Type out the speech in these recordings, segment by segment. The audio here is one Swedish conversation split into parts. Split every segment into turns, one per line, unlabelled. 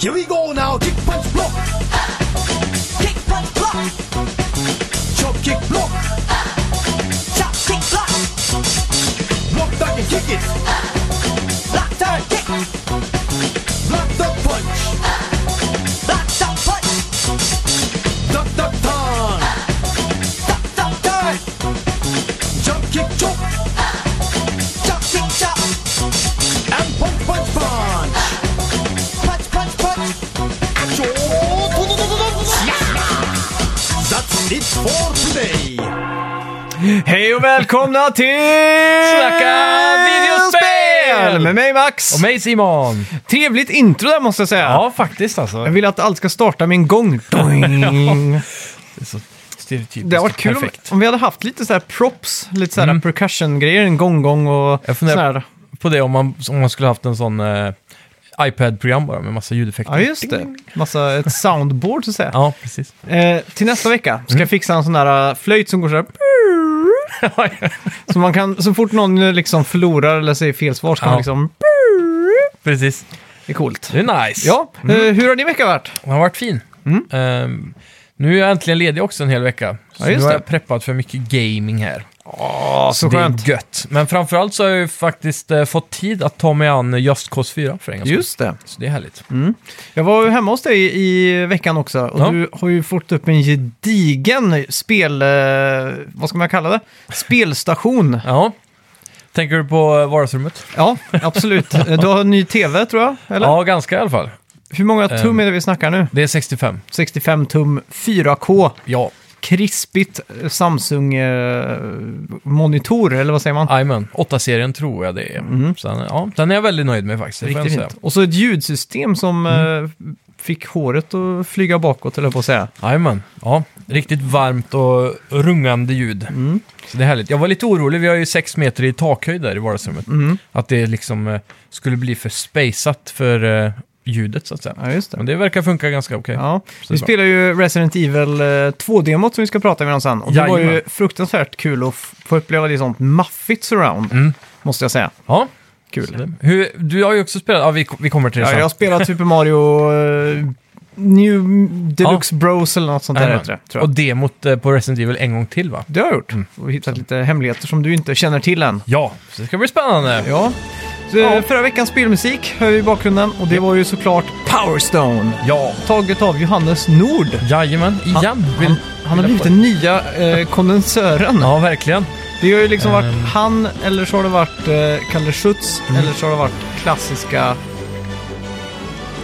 Here we go now, kick punch block.
Kick, punch, block.
Chop kick block.
Chop, kick, block.
Block duck and kick it.
Block, turn, kick.
Block duck punch.
Block, duck, punch.
Duck duck turn.
Duck, duck, turn.
Jump kick chop.
Chop, kick, chop.
And punch punch punch.
Punch, punch, punch.
That's it for today.
Hej och välkomna till
Snacka videospel!
Med mig Max.
Och mig Simon!
Trevligt intro där måste jag säga.
Ja, faktiskt alltså.
Jag vill att allt ska starta med en gång. Doing.
Stereotypiskt
Det hade varit kul om,
perfekt.
om vi hade haft lite så här props, lite så här
Mm.
percussion-grejer, en gong-gong och
Jag
sån
funderar-
här.
På det om man, om man skulle haft en sån eh, iPad-program bara med massa ljudeffekter.
Ja, just det. Massa, ett soundboard så att säga.
Ja, Mm. precis.
Eh, till nästa vecka ska jag fixa en sån där eh, flöjt som går så här. Så, man kan, så fort någon eh, liksom förlorar eller säger fel svar ska man
Ja.
liksom...
precis.
Det är coolt.
Det är nice.
Ja, Mm. eh,
Mm.
hur har din vecka varit?
Den har varit fin. Ehm, nu är jag äntligen ledig också en hel vecka. Så
Ja, just
nu har
det.
jag preppat för mycket gaming här.
Åh, så
det
skönt.
är gött. Men framförallt så har jag ju faktiskt eh, fått tid att ta mig an Just Cause 4 för en gångs skull.
Just Mm. det.
Så det är härligt.
Jag var ju hemma hos dig i veckan också och
Ja.
du har ju fått upp en gedigen spel... Eh, vad ska man kalla det? Spelstation.
Ja. Tänker du på eh, vardagsrummet?
Ja, absolut. Eh, du har en ny tv tror jag, eller?
Ja, ganska i alla fall.
Hur många tum är det vi snackar nu?
Det är 65.
65 tum, 4K,
Ja,
krispigt eh, Samsung-monitor, eller vad säger man?
Jajamän, 8-serien tror jag det är. Sen, ja, den är jag väldigt nöjd med faktiskt. det får jag
Mhm. Riktigt
ändå
fint. Och så ett ljudsystem som eh, fick håret att flyga bakåt, eller på att säga.
säga. Jajamän, ja. Riktigt varmt och rungande ljud.
Mm.
Så det är härligt. Jag var lite orolig, vi har ju 6 meter i takhöjd där i vardagsrummet.
Mhm.
Att det liksom eh, skulle bli för spacat för eh, ljudet så att säga.
Ja, just det.
Men det verkar funka ganska okej.
Ja, vi
bra.
spelar ju Resident Evil eh, 2-demot som vi ska prata med om sen. Och det var ju
Jajamän.
fruktansvärt kul att f- få uppleva det i sånt maffigt surround,
Mm.
måste jag säga.
Ja.
Kul.
Hur, du har ju också spelat, ja vi, vi kommer till det
Ja,
sen.
jag har spelat Super Mario eh, New Deluxe Bros eller något sånt där
Jajamän.
heter det, tror
Och Mm.
jag.
demot eh, på Resident Evil en gång till va?
Det har jag gjort. Och hittat lite hemligheter som du inte känner till än.
Ja, så det ska bli spännande.
Ja. Så, eh,
Ja.
Förra veckans spelmusik hör vi i bakgrunden och det var ju såklart Powerstone.
Ja.
Taget av Johannes Nord.
Jajamän, igen.
Han,
Vill-
han har blivit den nya eh, kondensören.
Ja, verkligen.
Det har ju liksom varit han, eller så har det varit eh, Kalle Schütz, eller så har det varit klassiska...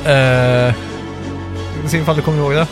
Eh,
Vi ska se ifall du kommer ihåg det.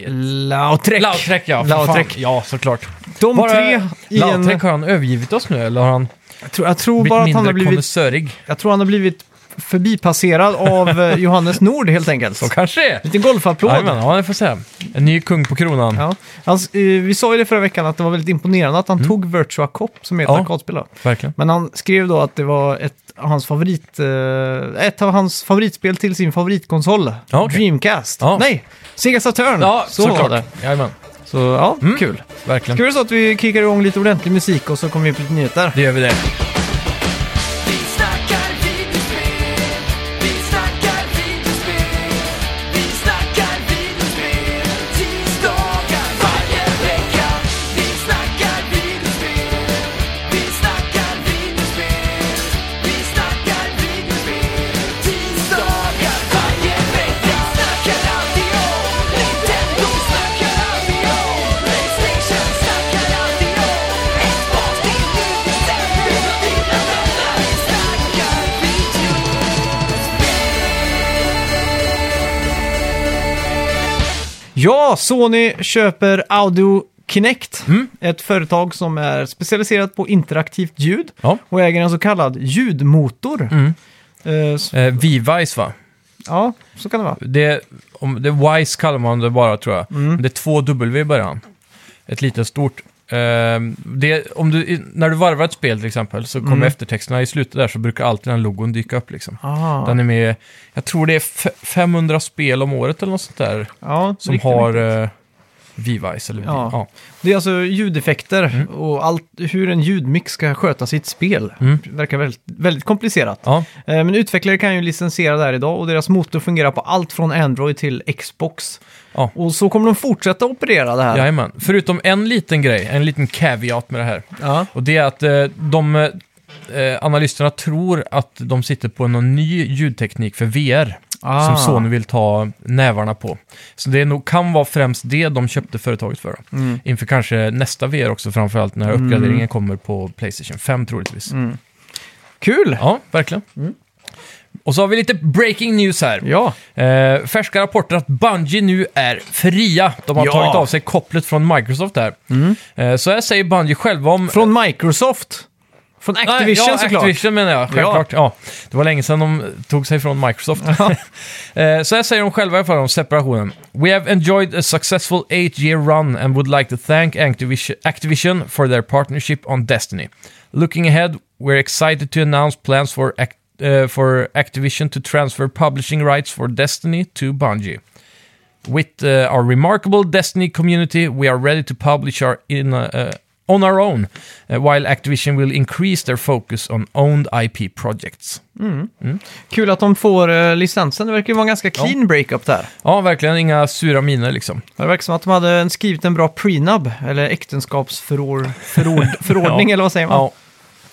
Mm. Lautrec.
Lautrec, ja. för
Lautrec.
fan. Ja, såklart.
De
Bara,
tre i
Lautrec,
en...
har han övergivit oss nu eller har han
Jag tror, jag, tror
blivit
bara att han
mindre
har blivit,
konnässörig?
jag tror han har blivit förbipasserad av eh, Johannes Nord helt enkelt.
Så kanske är.
Lite golfapplåd.
Jajamän, ja, det får se. En ny kung på kronan.
Ja. Alltså, eh, vi sa ju det förra veckan att det var väldigt imponerande att han tog Virtua Cop som är ett
Mm. Ja.
arkadspel. då.
Verkligen.
Men han skrev då att det var ett, av hans favorit, eh, ett av hans favoritspel till sin favoritkonsol.
Ja, okej.
Dreamcast.
Ja.
Nej, Sega Saturn.
Ja,
så var
såklart. Mm.
det.
Jajamän,
Så ja, kul.
verkligen.
Ska vi göra så att vi kickar igång lite ordentlig musik och så kommer vi in på lite nyheter?
Det gör vi det.
Vi snackar videospel, vi snackar videospel, vi snackar videospel, tisdagar varje vecka. Vi snackar videospel, vi snackar videospel, vi snackar videospel, tisdagar varje vecka. Snackar alltid om Nintendo, snackar alltid om Playstation, snackar alltid om Xbox, det är nu vi sätter dina vänner. Vi snackar video.
Ja, Sony köper Audio Kinect.
Mm.
Ett företag som är specialiserat på interaktivt ljud
Ja. Mm.
och äger en så kallad ljudmotor. Eh, s-
Eh, Vivice va?
ja, så kan det vara.
Det, om, det Wise kallar man det bara tror
Mm.
jag. Men Det är två W i början. Ett litet stort. Eh, det, om du, i- när du varvar ett spel till exempel så kommer eftertexterna i slutet där så brukar alltid den logon dyka upp liksom.
Mm. Ah,
Den är med, jag tror det är f- 500 spel om året eller något sånt där.
ja,
Som
riktigt.
har eh, Vivice eller
Ja.
ja. Ja.
Det är alltså ljudeffekter
Mm.
och allt, hur en ljudmix ska skötas i ett spel.
Mm.
verkar väldigt, väldigt komplicerat.
ja.
Eh, Men utvecklare kan ju licensiera det här idag och deras motor fungerar på allt från Android till Xbox.
Ja.
Och så kommer de fortsätta operera det här.
Jajamän. Förutom en liten grej, en liten caveat med det här.
Ja.
Och det är att eh, de eh, analysterna tror att de sitter på någon ny ljudteknik för VR.
Ah.
Som Sony vill ta nävarna på. Så det är nog, kan vara främst det de köpte företaget för. då.
Mm.
Inför kanske nästa VR också framförallt när
Mm.
uppgraderingen kommer på Playstation 5 troligtvis.
Kul!
Ja, verkligen. Och så har vi lite breaking news här.
Mm. Ja.
Eh, färska rapporter att Bungie nu är fria. De har
Ja. Mm.
tagit av sig kopplet från Microsoft där. Eh, så här säger Bungie själva om...
Från Microsoft. Från
Nej,
Activision
Eh. ja,
såklart.
Activision menar jag, självklart. Ja. Det var länge sedan de tog sig från Microsoft. Eh, så här säger de själva i alla fall om separationen. We have enjoyed a successful eight year run and would like to thank Activision, Activision for their partnership on Destiny. Looking ahead, we're excited to announce plans for, Ac- eh, for Activision to transfer publishing rights for Destiny to Bungie. With uh, our remarkable Destiny community, we are ready to publish our in, uh, uh, on our own, uh, while Activision will increase their focus on owned IP projects.
Kul att de får eh, licensen. Det verkar ju vara en ganska clean breakup där.
Ja, verkligen inga sura miner liksom.
Det verkar som att de hade en- skrivit en bra prenub, eller äktenskapsförordning, förordning
Ja.
eller vad säger man?
Ja.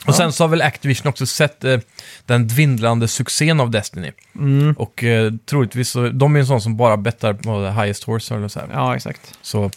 Och sen så har väl Activision också sett eh, den svindlande succén av Destiny. Och eh, troligtvis, så, de är en sån som bara bettar på the highest horse eller så här.
ja, exakt.
Så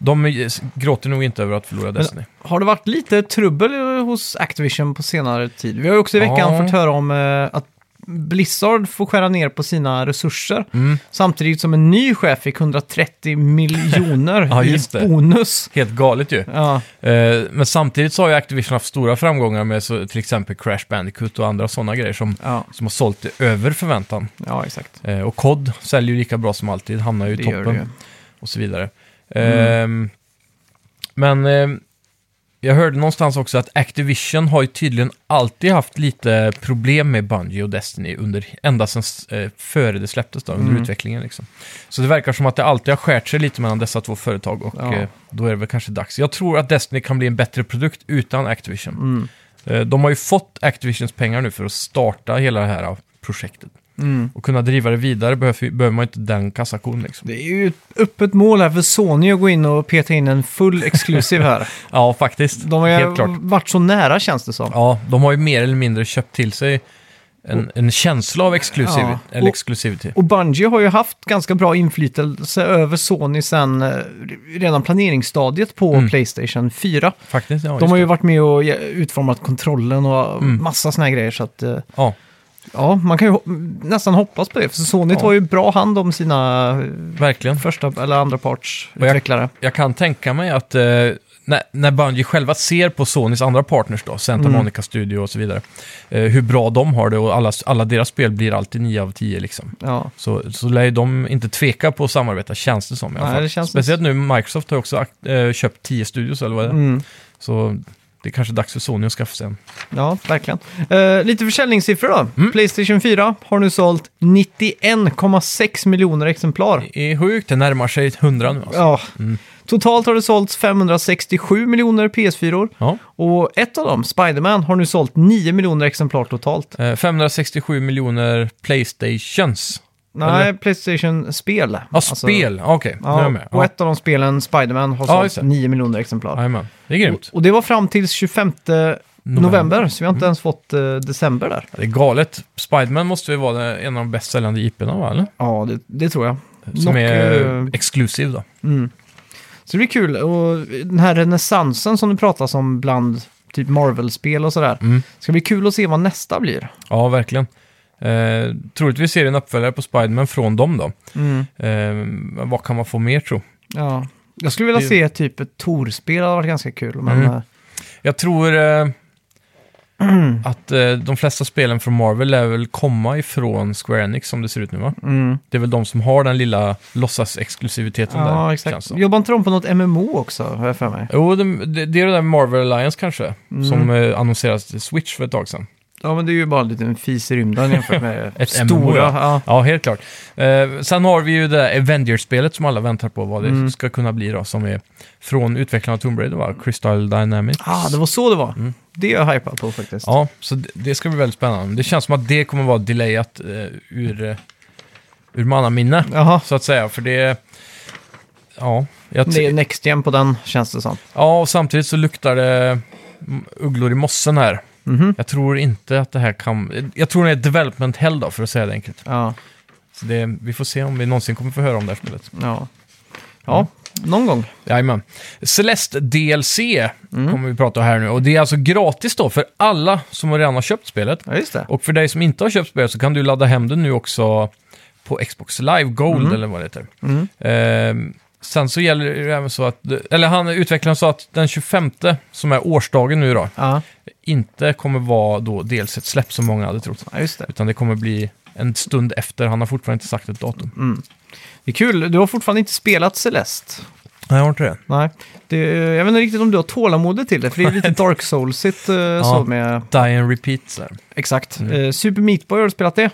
de eh, gråter nog inte över att förlora Destiny.
Har det varit lite trubbel eh, hos Activision på senare tid? Vi har ju också i veckan
Ja.
fått höra om eh, att Blizzard får skära ner på sina resurser.
Mm.
Samtidigt som en ny chef fick 130 miljoner
Ja,
i
just det.
bonus.
Helt galet ju.
Ja,
Eh, Men samtidigt så har ju Activision haft stora framgångar med så, till exempel Crash Bandicoot och andra sådana grejer som,
ja,
som har sålt över förväntan.
ja exakt.
Eh, Och COD säljer ju lika bra som alltid, hamnar ju i
Det gör
toppen
det ju.
och så vidare. Ehm, men eh, jag hörde någonstans också att Activision har ju tydligen alltid haft lite problem med Bungie och Destiny under, ända sedan eh, före det släpptes, då, under utvecklingen. Liksom. Så det verkar som att det alltid har skärt sig lite mellan dessa två företag och
Ja.
eh, då är det väl kanske dags. Jag tror att Destiny kan bli en bättre produkt utan Activision. Eh, de har ju fått Activisions pengar nu för att starta hela det här eh, projektet. Och kunna driva det vidare behöver, behöver man inte den kassakon liksom.
Det är ju ett öppet mål här för Sony att gå in och peta in en full exklusiv här.
Ja, faktiskt.
De har
Helt klart.
ju varit så nära känns det som.
Ja, de har ju mer eller mindre köpt till sig en, en känsla av exklusiv,
Ja.
eller
Och-
exklusivitet.
Och Bungie har ju haft ganska bra inflytelse över Sony sen eh, redan planeringsstadiet på
Mm.
Playstation 4.
Faktiskt, ja.
De
just
har ju
det. Mm.
varit med och ge- utformat kontrollen och massa såna här grejer. Så att, eh,
Ja,
ja, man kan ju ho- nästan hoppas på det. För Sony
Ja.
tar ju bra hand om sina eh,
verkligen.
första eller andra parts
Och jag-
utvecklare.
Jag kan tänka mig att eh, när, när Bungie själva ser på Sonys andra partners då, Santa
Mm.
Monica Studio och så vidare, eh, hur bra de har det och alla, alla deras spel blir alltid 9 av 10 liksom.
Ja,
Så, så lär ju de inte tveka på att samarbeta, känns det som i alla
Nej,
fall.
det känns
Speciellt nu, Microsoft har ju också akt- eh, köpt 10 studios eller vad det är.
Mm.
Så det är kanske dags för Sony att skaffa sig en.
ja verkligen. Eh, lite försäljningssiffror då.
Mm.
Playstation 4 har nu sålt 91,6 miljoner exemplar.
Det är sjukt, det närmar sig 100 nu alltså.
Ja. Totalt har det sålts 567 miljoner PS4. -or.
Ja.
Och ett av dem, Spiderman, har nu sålt 9 miljoner exemplar totalt.
Eh, 567 miljoner Playstations.
Nej, Playstation-spel.
Ja, spel. Ah, Okej, nu är
Alltså, Ja,
jag med.
och
Ja.
ett av de spelen, Spiderman, har
Ja,
sålt
just det.
9 miljoner exemplar.
Jajamän. Det är grymt. Mm.
Och det var fram till 25 november, så vi har inte ens fått eh, december där.
Det är galet. Spiderman måste ju vara en av de bäst säljande IP-erna, va? Eller?
Ja, det, det tror jag.
Som
Nog,
är
eh,
exklusiv då.
Så det blir kul. Och den här renässansen som det pratas om bland typ Marvel-spel och sådär.
Mm.
Ska bli kul att se vad nästa blir.
Ja, verkligen. Eh, troligtvis är det en uppföljare på Spiderman från dem då.
Mm.
Eh, vad kan man få mer tro?
Ja. Jag skulle vilja
Det-
se typ ett Tor-spel, hade varit ganska kul. Men,
Mm.
eh,
Jag tror eh, att eh, de flesta spelen från Marvel är väl komma ifrån Square Enix som det ser ut nu va?
mm.
Det är väl de som har den lilla låtsas-exklusiviteten där.
Ja,
känns
exakt.
det som.
Jobbar inte de på något MMO också, har jag för mig? Mm.
Jo, det, det, det är det där Marvel Alliance kanske, som eh, annonserades till Switch för ett tag sedan.
Ja, men det är ju bara en liten fis i rymden jämfört med
Ett
stora.
MMO, ja.
ja.
Ja, helt klart. Eh, sen har vi ju det där Avengers-spelet som alla väntar på vad det
Mm.
ska kunna bli då, som är från utvecklarna av Tomb Raider, va? Crystal Dynamics.
Ah, det var så det var. Det är jag hypad på faktiskt.
Ja, så det, det ska bli väldigt spännande. Det känns som att det kommer vara delayat eh, ur, eh, ur mannaminne,
Jaha,
så att säga. För det... Ja, jag
det
ty-
är next gen på den känns det som.
ja, och samtidigt så luktar det mm, ugglor i mossen här.
Mhm.
Jag tror inte att det här kan... Jag tror det är development hell då, för att säga det enkelt.
Ja,
Så det, vi får se om vi någonsin kommer få höra om det här spelet.
ja. Ja, någon gång.
Jajamän. Celeste DLC
Mm.
kommer vi prata om här nu. Och det är alltså gratis då för alla som redan har köpt spelet.
Ja, just det.
Och för dig som inte har köpt spelet så kan du ladda hem det nu också på Xbox Live Gold eller vad det heter.
Mm.
Ehm, sen så gäller det ju även så att, eller han, utvecklaren sa att den 25 som är årsdagen nu då,
Ja,
inte kommer vara då dels ett släpp som många hade trott.
ja, just det.
Utan det kommer bli en stund efter, han har fortfarande inte sagt ett datum.
Det är kul, du har fortfarande inte spelat Celeste.
Nej, jag har inte det.
Nej, det, jag vet inte riktigt om du har tålamodet till det, för det är lite Dark Souls-igt eh, så med...
Die and repeat så här.
Exakt.
Mm.
Eh, Super Meat Boy, har du spelat det?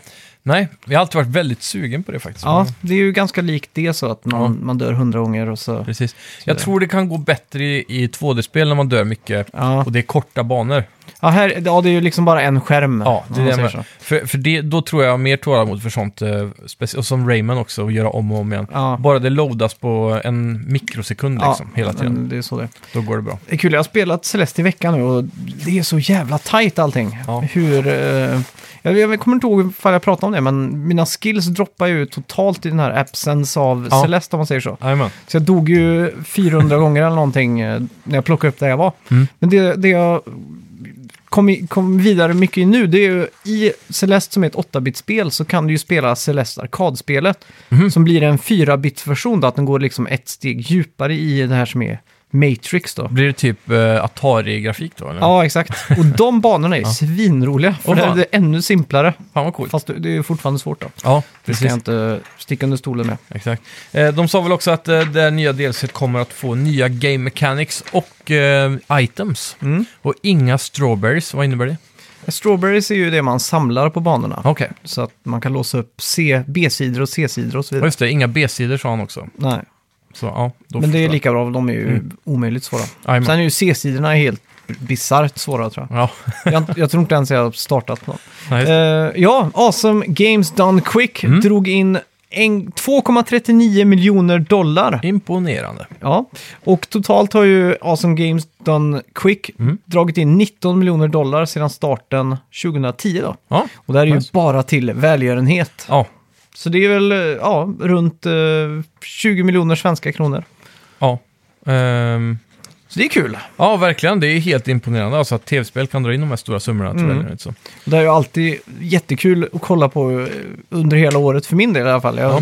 Nej, jag har alltid varit väldigt sugen på det faktiskt.
Ja, det är ju ganska likt det så att man, man dör hundra gånger och så...
Precis. Jag tror det kan gå bättre i, i 2D-spel när man dör mycket
Ja.
och det är korta banor.
Ja, här, ja, det är ju liksom bara en skärm.
Ja, det
om man
är det
säger
jag menar.
så.
För, för det, då tror jag har mer tålamod för sånt, eh, speci- och som Rayman också, och göra om och om igen.
Ja.
Bara det loadas på en mikrosekund liksom, hela tiden,
men Det är så det är.
då går det bra.
Det är kul, jag har spelat Celeste i veckan nu och det är så jävla tajt allting.
Ja.
Hur... Eh, jag, jag kommer inte ihåg ifall jag pratade om det, men mina skills droppar ju totalt i den här absence av
Ja.
Celeste om man säger så.
Jajamän.
Så jag dog ju 400 gånger eller någonting eh, när jag plockade upp där jag var.
Mm.
Men det, det jag kom, i, kom vidare mycket i nu, det är ju i Celeste som är ett 8-bit-spel så kan du ju spela Celeste arkadspelet
Mhm.
som blir en 4-bit-version då, att den går liksom ett steg djupare i det här som är Matrix då.
Blir det typ eh, Atari-grafik då? Eller?
Ja, exakt. Och de banorna är svinroliga, för
Åh,
det
fan.
är det ännu simplare.
Fan vad coolt.
Fast det är ju fortfarande svårt då.
Ja,
Det ska
precis.
jag inte sticka under stolen med.
Exakt. Eh, de sa väl också att eh, det här nya delset kommer att få nya game mechanics och eh, items.
Mm.
Och inga strawberries, vad innebär det?
Strawberries är ju det man samlar på banorna.
Okej.
Så att man kan låsa upp C, B-sidor och C-sidor och så
Ja,
vidare.
just det. Inga B-sidor sa han också.
Nej,
Så, ja, då
men det är
förstår Mm.
lika bra, de är ju omöjligt svåra.
jag. Jajamän.
Sen är ju C-sidorna helt bisarrt svåra tror jag.
Ja,
jag. Jag tror inte ens jag har startat någon.
nej, just- Mm.
Eh, ja, Awesome Games Done Quick drog in en- 2,39 miljoner dollar.
imponerande.
Ja, och totalt har ju Awesome Games Done Quick
Mm.
dragit in 19 miljoner dollar sedan starten 2010 då.
Ja,
Och det här är ju
Nice.
bara till välgörenhet.
ja,
Så det är väl eh, ja, runt eh, 20 miljoner svenska kronor.
ja. Ehm,
Så det är kul.
ja, verkligen. Det är helt imponerande. Alltså att tv-spel kan dra in de här stora summorna.
Mm.
till liksom. välgörenhet, så.
Det är ju alltid jättekul att kolla på eh, under hela året, för min del i alla fall. Jag
Ja.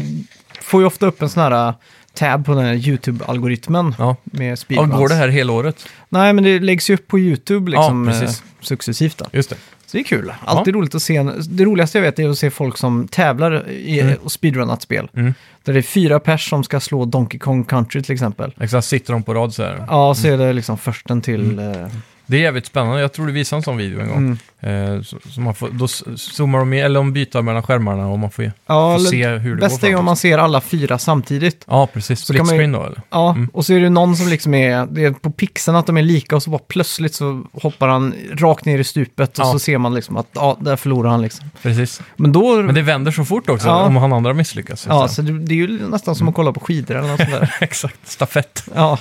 får ju ofta upp en sån här eh, tab på den här YouTube-algoritmen
Ja.
med
ja,
speedruns.
går det här hela året?
Nej, men det läggs ju upp på YouTube liksom,
Ja, precis.
eh, successivt. Då.
Just det.
Så det är kul. Alltid roligt att se. En, det roligaste jag vet är att se folk som tävlar i, och speedrunnat spel.
Mm.
Där det är fyra pers som ska slå Donkey Kong Country till exempel.
Exakt, sitter de på rad så här.
Ja, så är det liksom försten till...
Mm.
eh,
Det är jävligt spännande. Jag tror du visade en sån video en gång.
Mm.
Eh, så, så man får, då s- zoomar de i, eller de byter mellan skärmarna och man får,
Ja,
får
eller-
se hur det
Bästa
går.
är om
framåt.
man ser alla fyra samtidigt.
Ja, precis. Split
kan man ju-
screen då, eller?
Ja, och så är det någon som liksom är, det är på pixeln att de är lika och så bara plötsligt så hoppar han rakt ner i stupet och
Ja.
så ser man liksom att ja, där förlorar han liksom.
Precis.
Men då,
Men det vänder så fort också,
Ja.
om han andra misslyckas. liksom.
ja, så det, det är ju nästan som att kolla på skidor eller något sånt där.
Exakt, stafett.
Ja,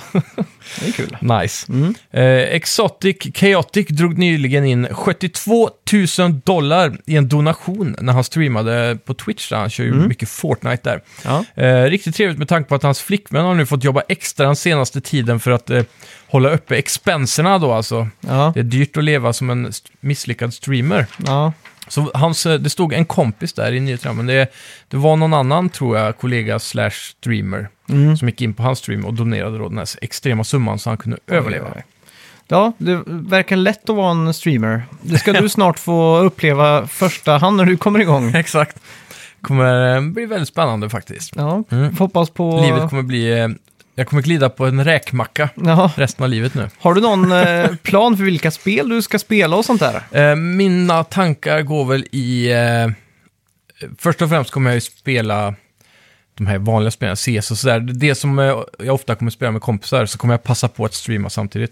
det är kul.
Nice. Eh, Exotic Chaotic drog nyligen in 72 000 dollar i en donation när han streamade på Twitch. Där. Han kör ju mycket Fortnite där.
Ja.
Eh, riktigt trevligt med tanke på att hans flickvän har nu fått jobba extra den senaste tiden för att eh, hålla uppe expenserna då alltså.
Ja,
Det är dyrt att leva som en st- misslyckad streamer.
ja,
Så hans, eh, det stod en kompis där i nyheterna, men det, det var någon annan, tror jag, kollega slash streamer
Mm.
som gick in på hans stream och donerade då den här extrema summan så han kunde överleva.
ja, det verkar lätt att vara en streamer. Det ska du snart få uppleva första hand när du kommer igång.
Exakt. kommer eh, bli väldigt spännande faktiskt.
Ja, får hoppas på...
Livet kommer bli eh, Jag kommer glida på en räkmacka
Ja.
resten av livet nu.
Har du någon eh, plan för vilka spel du ska spela och sånt där?
Eh, mina tankar går väl i... Eh, först och främst kommer jag ju spela de här vanliga spelen, CS och sådär. Det som eh, jag ofta kommer spela med kompisar, så kommer jag passa på att streama samtidigt.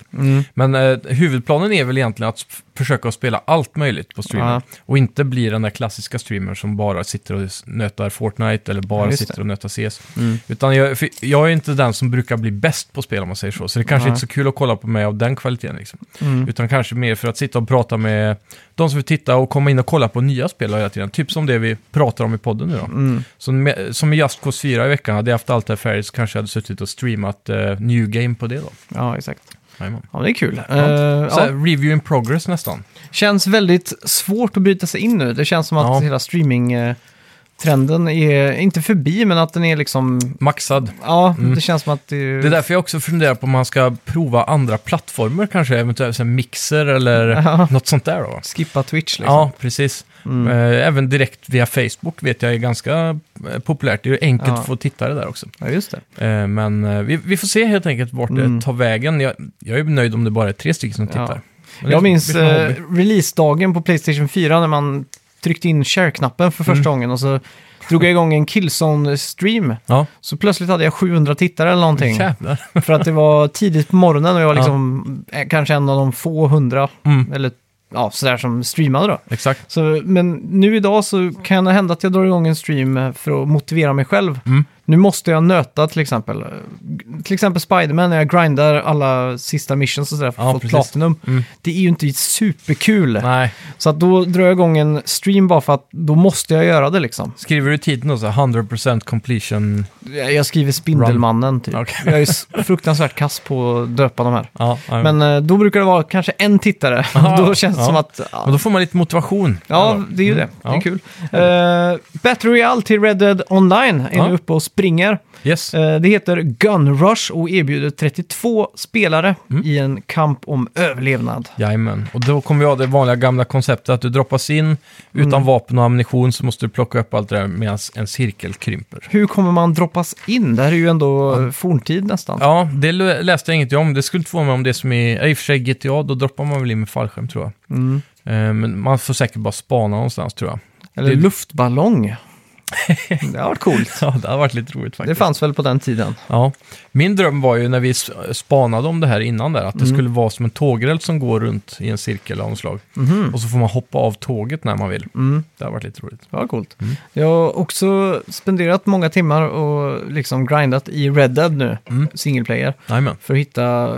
Men eh, huvudplanen är väl egentligen att f- försöka att spela allt möjligt på streamen.
Ja.
Och inte bli den där klassiska streamern som bara sitter och s- nötar Fortnite eller bara
Ja, just
sitter
det. Mm.
och nötar CS. Utan jag, för jag är inte den som brukar bli bäst på spel om man säger så. Så det kanske
Nej. Mm.
inte är så kul att kolla på mig av den kvaliteten. Liksom. Utan kanske mer för att sitta och prata med de som vill titta och komma in och kolla på nya spel hela tiden. Typ som det vi pratar om i podden nu då.
Mm.
Så med, som i Just Cause 4 i veckan, hade jag haft Altair Fairies kanske jag hade suttit och streamat eh, New Game på det då.
Ja, exakt.
Jajamän.
Ja, det är kul. Eh,
Så här,
ja.
Review in progress nästan.
Känns väldigt svårt att bryta sig in nu. Det känns som att
Ja.
hela streaming-trenden är, inte förbi, men att den är liksom...
Maxad.
Ja, det känns som att det...
Mm. Det är därför jag också funderar på om man ska prova andra plattformar kanske, eventuellt så här mixer eller
Ja.
något sånt där då.
Skippa Twitch liksom. Mm.
Ja, precis. Eh, Även direkt via Facebook vet jag är ganska eh, populärt. Det är ju enkelt
Ja.
att få tittare där också.
Ja, just det.
Eh, Men eh, vi, vi får se helt enkelt vart
Mm.
det tar vägen. Jag, jag är nöjd om det bara är tre stycken som tittar.
Ja.
Men det
Jag
är
minns
lite
eh,
hobby.
releasedagen på Playstation 4 när man tryckte in share-knappen för
Mm.
första gången och så drog jag igång en Killzone-stream.
Ja,
Så plötsligt hade jag 700 tittare eller någonting.
jävlar.
För att det var tidigt på morgonen och jag var liksom eh, kanske en av de få hundra,
Mm.
eller ja, sådär som streamade då.
Exakt.
Så, men nu idag så kan det hända att jag drar igång en stream eh, för att motivera mig själv.
Mm.
Nu måste jag nöta till exempel. eh, Till exempel Spiderman när jag grindar alla sista missions och sådär för att
Ja,
få
precis.
platinum.
Mm.
Det är ju inte superkul.
Nej,
Så att då drar jag igång en stream bara för att då måste jag göra det liksom.
skriver du titeln då så här 100% completion?
Jag jag skriver Spindelmannen typ.
Okej.
Jag är s- fruktansvärt kass på att döpa de här.
Ja, ja.
Men eh, då brukar det vara kanske en tittare.
Ja,
då känns det
ja.
som att...
Men
Ja,
då får man lite motivation.
ja det är ju det. Det är
Ja.
kul. Uh, Battle Royale till Red Dead Online är
Ja.
nu uppe och springer.
Yes.
Eh, det heter Gun Rush och erbjuder 32 spelare
Mm.
i en kamp om överlevnad.
Jajamän. Och då kommer vi ha det vanliga gamla konceptet att du droppas in utan
Mm.
vapen och ammunition så måste du plocka upp allt det där medan en cirkel krymper.
Hur kommer man droppas in? Det här är ju ändå eh, forntid nästan.
Ja, det lö- läste jag inget om. Det skulle inte få mig om det som i, ja, i och för sig GTA, då droppar man väl in med fallskärm tror jag.
Mm.
Eh, Men man får säkert bara spana någonstans tror jag.
Eller
det-
luftballong. det har varit coolt.
Ja, det har varit lite roligt
Det
faktiskt.
fanns väl på den tiden.
Ja. Min dröm var ju när vi s- spanade om det här innan där, att det skulle vara som en tågräls som går runt i en cirkel av något slag. Och så får man hoppa av tåget när man vill. Det har varit lite roligt.
Ja, coolt.
Mm.
Jag har också spenderat många timmar och liksom grindat i Red Dead nu,
Mm.
single player,
Jajamän.
för att hitta...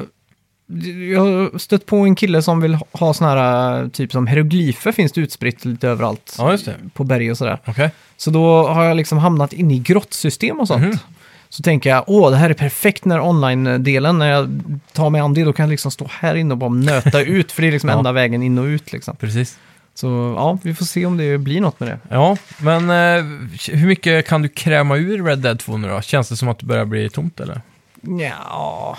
Jag har stött på en kille som vill ha- ha såna här, typ som hieroglyfer finns det utspritt lite överallt.
Ja, just det.
På berg och sådär.
Okej.
Så då har jag liksom hamnat inne i grottsystem och
Mhm.
sånt. Så tänker jag, åh, det här är perfekt när online-delen, när jag tar mig an det, då kan jag liksom stå här inne och bara nöta ut, för det är liksom
Ja.
enda vägen in och ut liksom.
Precis.
Så ja, vi får se om det blir något med det.
Ja, men eh, hur mycket kan du kräma ur Red Dead 2 nu då? Känns det som att det börjar bli tomt eller?
Ja,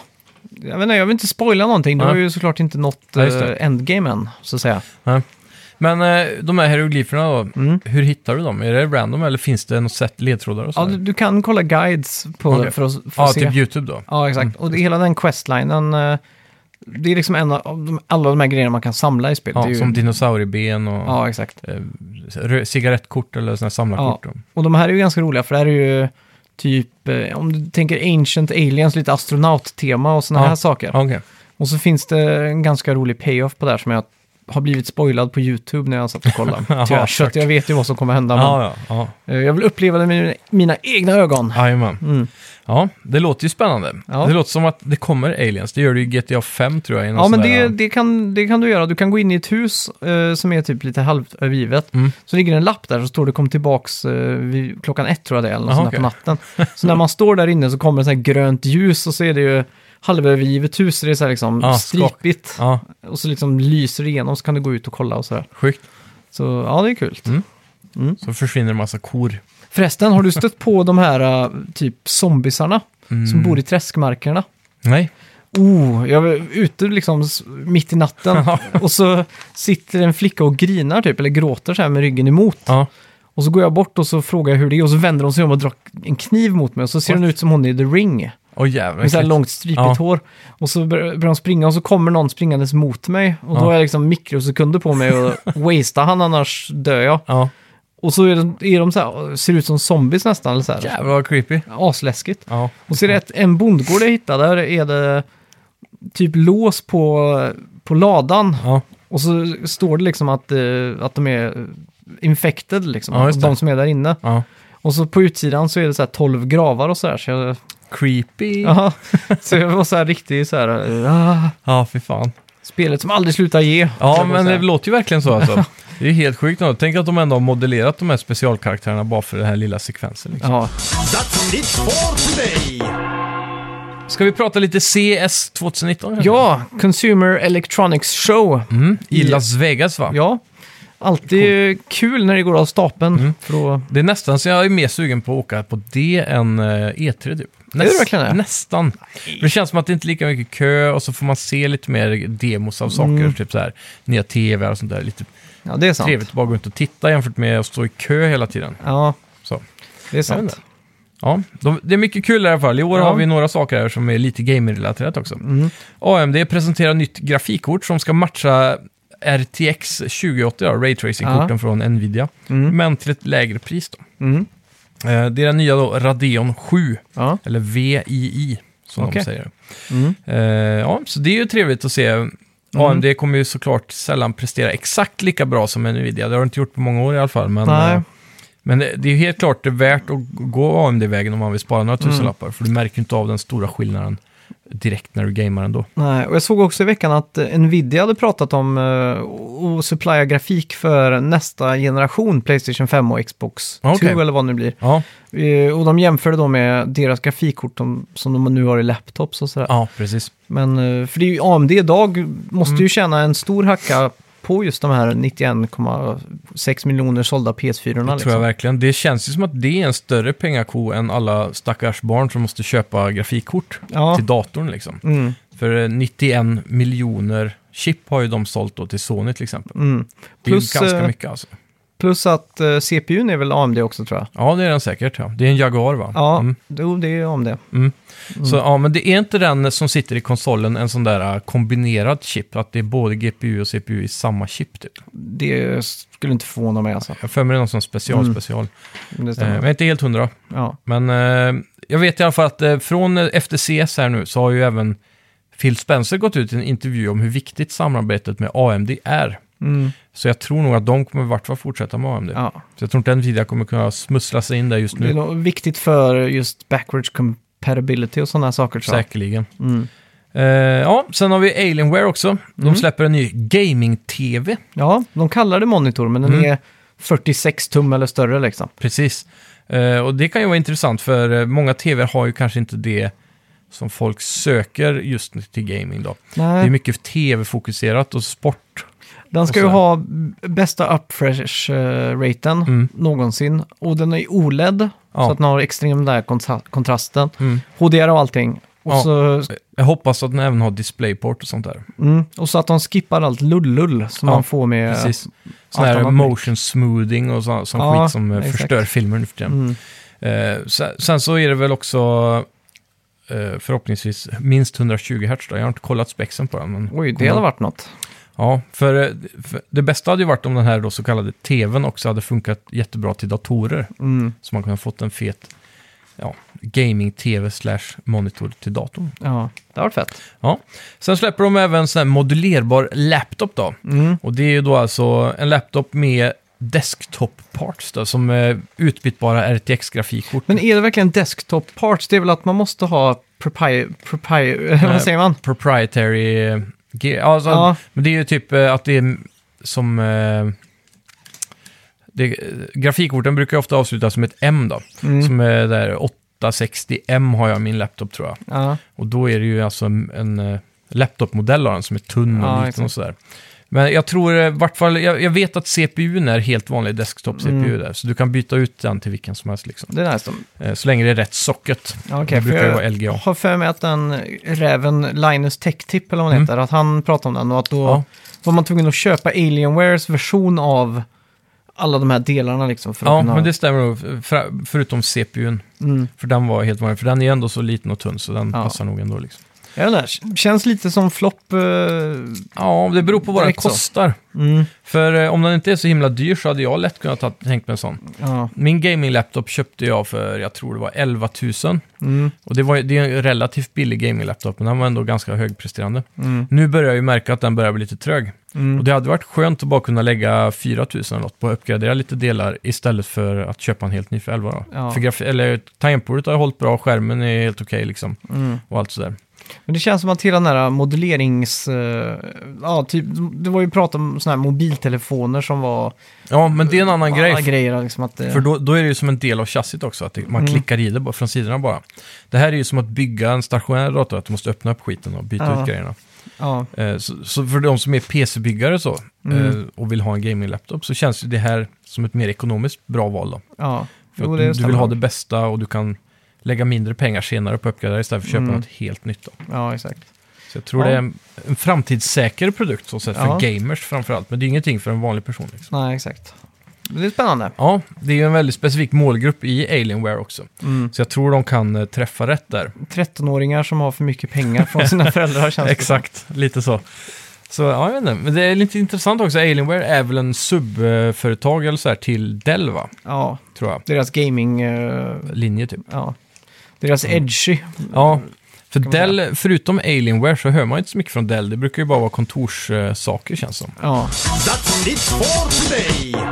jag vet inte, jag vill inte spoila någonting. Du
Nej.
har ju såklart inte nått
Nej, just det.
eh, endgame än, så att säga.
Nej. Men eh, de här hieroglyferna då,
Mm.
hur hittar du dem? Är det random eller finns det något sätt, ledtrådar och
Ja,
sådär?
du, du kan kolla guides på,
Okej.
för att få
ja
se.
typ YouTube då?
Ja, exakt. Och det, hela den questlinen, eh, det är liksom en av de, alla de här grejerna man kan samla i spelet.
Ja,
det är ju,
som dinosaurieben och
ja, exakt.
eh, rö- cigarettkort eller sådana här
Ja.
samlarkort. då.
Och de här är ju ganska roliga, för det här är ju typ, eh, om du tänker ancient aliens, lite astronaut-tema och sådana
Ja.
här saker.
Ja, okej.
Och så finns det en ganska rolig payoff på det här som jag har blivit spoilad på YouTube när jag satt och kollade. Tyvärr, så att jag vet ju vad som kommer hända. Men,
Ja, ja, ja.
eh, Jag vill uppleva det med mina- mina egna ögon.
Jajamän. Ja, det låter ju spännande.
Mm. Ja.
Det låter som att det kommer aliens. Det gör det ju i GTA 5 tror jag. i någon
Ja,
sån
men
där,
det, det, kan, det kan du göra. Du kan gå in i ett hus eh, som är typ lite halvt övergivet.
Mm.
Så ligger det en lapp där så står det kom tillbaks eh, vid klockan ett tror jag det är, eller något
Aha,
sånt där på natten. Så när man står där inne så kommer det så här grönt ljus och så är det ju halvövergivet hus. Så det är så här liksom
Ja, skak.
stripigt.
Ja,
Och så liksom lyser det igenom så kan du gå ut och kolla och sådär.
sjukt.
Så ja, det är kul.
Så försvinner en massa kor.
Förresten, har du stött på de här eh, typ zombisarna
Mm.
som bor i träskmarkerna?
Nej.
Oh, jag var ute liksom s- mitt i natten och så sitter en flicka och grinar typ, eller gråter så här med ryggen emot.
Ja.
Och så går jag bort och så frågar jag hur det är och så vänder hon sig om och drar en kniv mot mig och så ser
What?
hon ut som hon är i The Ring.
Åh jävlar.
med så här
äckligt.
långt stripigt
Ja.
hår. Och så bör- börjar de springa och så kommer någon springandes mot mig. Och då
Ja.
har jag liksom mikrosekunder på mig och wastea han annars dör jag.
Ja,
Och så är de, är de så här, ser ut som zombies nästan. Eller så här.
jävlar vad creepy.
Asläskigt.
Ja.
Och så är det ett, en bondgård jag hittade, där är det typ lås på, på ladan.
Ja.
Och så står det liksom att, eh, att de är infected, liksom.
Ja, just det.
de som är där inne.
ja.
Och så på utsidan så är det så här 12 gravar och sådär. Så, jag-
Creepy. Ja,
ja. så jag var så här riktigt så här, ah,
fy fan.
spelet som aldrig slutar ge.
Ja,
Jag var
men
så
det
här,
låter ju verkligen så alltså. Det är ju helt sjukt. ändå. Tänk att de ändå har modellerat de här specialkaraktärerna bara för den här lilla sekvensen. Liksom.
Ja,
That's it for today.
Ska vi prata lite CS 2019? kanske?
ja Consumer Electronics Show.
Mm, I Las Vegas va?
Ja, alltid kul när det går av stapeln.
Mm.
För då,
Det är nästan så jag är mer sugen på att åka på det än eh, E3 typ.
det verkligen det?
Nästan. Det känns som att det inte är lika mycket kö och så får man se lite mer demos av saker. Typ så här, nya tv och sånt där. Lite
ja, det är sant.
trevligt att bara gå runt och titta jämfört med att stå i kö hela tiden.
Ja,
Så.
det är
Jag vet
sant.
inte. Ja, de, det är mycket kul i alla fall. I år
Ja. Mm.
har vi några saker här som är lite gamer-relaterat också. AMD presenterar nytt grafikkort som ska matcha RTX 2080, ja, raytracing-korten
Ja.
från Nvidia, men till ett lägre pris. Då.
Mm.
Eh, Det är den nya då, Radeon 7,
Ja.
eller VII som
Okej.
de säger.
Mm.
Eh, ja, så det är ju trevligt att se. AMD kommer ju såklart sällan prestera exakt lika bra som Nvidia. Det har de inte gjort på många år i alla fall. Men,
Nej.
eh, men det det är ju helt klart det är värt att gå AMD-vägen om man vill spara
Mm.
några tusenlappar. För du märker ju inte av den stora skillnaden direkt när du gamar ändå.
Nej, och jag såg också i veckan att eh, Nvidia hade pratat om eh, att supplya grafik för nästa generation, Playstation 5 och Xbox
Ah, okej.
2 eller vad det nu blir.
Ja,
Eh, Och de jämförde då med deras grafikkort de, som de nu har i laptops och sådär.
ja precis.
Men, eh, för det är ju AMD idag,
Mm.
måste ju tjäna en stor hacka på just de här 91,6 miljoner sålda PS4.
Det tror jag verkligen. Det känns ju som att det är en större pengako än alla stackars barn som måste köpa grafikkort
Ja.
till datorn. Liksom.
Mm.
För eh, 91 miljoner chip har ju de sålt då till Sony till exempel.
Mm.
Det är ju
Plus,
ganska
eh,
mycket alltså.
Plus att eh, CPUn är väl AMD också tror jag.
Ja, det är den säkert. Ja. Det är en Jaguar va?
Ja,
Mm.
jo, det är AMD.
Så,
Mm.
ja, men det är inte den som sitter i konsolen, en sån där eh, kombinerad chip, att det är både GPU och CPU i samma chip typ.
Det skulle inte förvåna mig alltså.
Jag för mig det är någon sån special,
Mm.
special.
om
Eh,
Det
men
stämmer.
jag är inte helt hundra.
ja.
Men eh, jag vet i alla fall att eh, från eh, efter CS här nu så har ju även Phil Spencer gått ut i en intervju om hur viktigt samarbetet med AMD är.
Mm.
Så jag tror nog att de kommer i vart fall fortsätta med AMD.
ja.
Så jag tror inte Nvidia kommer kunna smussla sig in där just
Det är
nu.
nog viktigt för just backwards compatibility och sådana saker tror jag.
Säkerligen.
Mm.
Eh, ja, sen har vi Alienware också. De
Mm.
släpper en ny gaming-tv.
Ja, de kallar det monitor men den
Mm.
är 46 tum eller större liksom.
Precis. Eh, och det kan ju vara intressant för eh, många tv har ju kanske inte det som folk söker just till gaming då. Det är
Nej,
mycket tv-fokuserat och sport.
den ska ju
och så.
ha bästa upfresh-raten
Mm.
någonsin. Och den är OLED,
Ja.
så att den har extrem där kontra- kontrasten.
Mm.
HDR och allting. Och,
Ja.
så,
Eh, Jag hoppas att den även har DisplayPort och sånt där.
mm, och så att de skippar allt lullull som
Ja,
man får med...
Precis. Sån
allt
här
annat
motion smoothing och sån, sån
Ja,
skit som eh,
exakt.
förstör filmer nu för tiden.
Mm.
Eh, sen, sen så är det väl också eh, förhoppningsvis minst 120 Hz. Då. Jag har inte kollat spexen på den. Men
Oj, det
Mm.
hade varit något.
Ja, för, eh, för det bästa hade ju varit om den här då så kallade tvn också hade funkat jättebra till datorer.
Mm.
Så man kunde ha fått en fet ja, gaming-tv slash monitor till datorn.
Ja, det hade varit fett.
Ja. Sen släpper de även en sån här modulerbar laptop då.
Mm.
Och det är ju då alltså en laptop med desktop parts då, som är utbytbara RTX-grafikkort.
Men är det verkligen desktop parts? Det är väl att man måste ha propri... propri
Nej.
vad säger man?
Proprietary... eh, ge- Alltså,
Ja.
Men det är ju typ eh, att det är som... eh, Det, eh, grafikkorten brukar ju ofta avslutas som ett M då.
Mm.
Som är där 860M har jag i min laptop tror jag.
Ja.
Och då är det ju alltså en, en eh, laptopmodell av den som är tunn och
Ja,
liten och
exakt.
sådär. Men jag tror, eh, vart fall, jag, jag vet att CPUn är helt vanlig desktop-CPU
Mm.
där, så du kan byta ut den till vilken som helst liksom.
Det är nice.
Eh, Så länge det är rätt socket.
Ja, okej,
det brukar
för
ju
jag-
vara LGA.
Jag har för mig att den räven Linus Tech Tip, eller vad han heter, att han pratade om den och att då
Mm. Ja.
var man tvungen att köpa Alienwares version av alla de här delarna liksom. För att
Ja,
kunna...
men det stämmer nog. Fra- Förutom CPUn.
Mm.
För den var helt vanlig. För den är ändå så liten och tunn så den
Ja.
passar nog ändå. Liksom.
Jag vet inte, k- känns lite som flopp. eh,
Ja, det beror på vad den
Direkt så.
kostar.
mm,
För eh, om den inte är så himla dyr så hade jag lätt kunnat ta, tänkt mig en sån.
ja,
Min gaming-laptop köpte jag för, jag tror det var 11 000.
mm,
Och det, var, ju- det är en relativt billig gaming-laptop, men den var ändå ganska högpresterande.
mm,
Nu börjar jag ju märka att den börjar bli lite trög. Och
mm.
det hade varit skönt att bara kunna lägga 4 000 eller något på att uppgradera lite delar istället för att köpa en helt ny för 11 då.
Ja.
För graf- eller tangentbordet har hållit bra, skärmen är helt okej liksom.
Mm.
Och allt sådär.
Men det känns som att hela den här modellerings... eh, ja, typ, det var ju prat om sådana här mobiltelefoner som var...
Ja, men det är en annan
alla
grej.
grejer liksom att det, Mm.
För då, då är det ju som en del av chassit också, att det, man klickar i det bara, från sidorna bara. Det här är ju som att bygga en stationär dator, att du måste öppna upp skiten och byta
Ja.
ut grejerna.
ja,
Eh, så, så för de som är PC-byggare så,
Mm.
eh, och vill ha en gaming-laptop så känns ju det här som ett mer ekonomiskt bra val. Då.
ja.
För
Jo,
att
det
du vill
stämmer.
ha det bästa och du kan lägga mindre pengar senare på att uppgradera istället för att köpa
Mm.
något helt nytt. Då.
Ja, exakt.
Så jag tror
Ja.
det är en, en framtidssäker produkt så sett,
Ja.
för gamers framförallt, men det är ingenting för en vanlig person. Liksom.
Nej, exakt. Det är spännande.
Ja, det är ju en väldigt specifik målgrupp i Alienware också.
Mm.
Så jag tror de kan eh, träffa rätt där.
13-åringar som har för mycket pengar från sina föräldrar känns det som.
Exakt, lite så. Så ja, jag vet inte. Men det är lite intressant också. Alienware är väl en subföretag eller så här till Dell, va?
Ja,
Tror jag.
deras gaming... eh,
Linje typ.
ja. Deras
Mm.
edgy.
Ja, för
Kan man säga.
Dell, förutom Alienware så hör man ju inte så mycket från Dell. Det brukar ju bara vara kontorssaker känns som.
Ja.
That's it for today!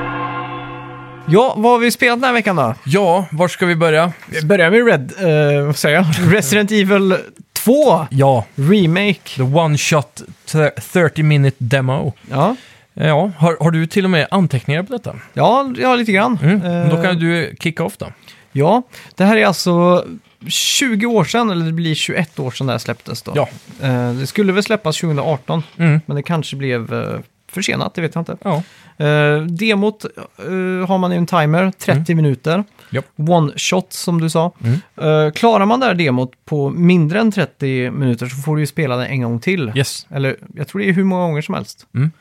ja, vad har vi spelat den här veckan då?
Ja, var ska vi börja?
Vi börjar med Red, eh, vad säger jag? Resident Evil 2
Ja,
Remake.
the one shot thir- 30 minute demo.
Ja,
Eh, Ja, har, har du till och med anteckningar på detta?
ja, ja lite grann.
Mm. men Då
Eh,
kan du kicka off då.
Ja, det här är alltså 20 år sedan, eller det blir 21 år sedan det här släpptes då.
Ja.
Eh, det skulle väl släppas 2018,
Mm.
men det kanske blev eh, försenat, det vet jag inte.
Ja.
Uh, demot eh, har man i en timer, 30 minuter.
Japp.
One shot som du sa.
Mm.
Eh, klarar man det här demot på mindre än 30 minuter så får du ju spela det en gång till.
Yes.
Eller jag tror det är hur många gånger som helst.
Mm.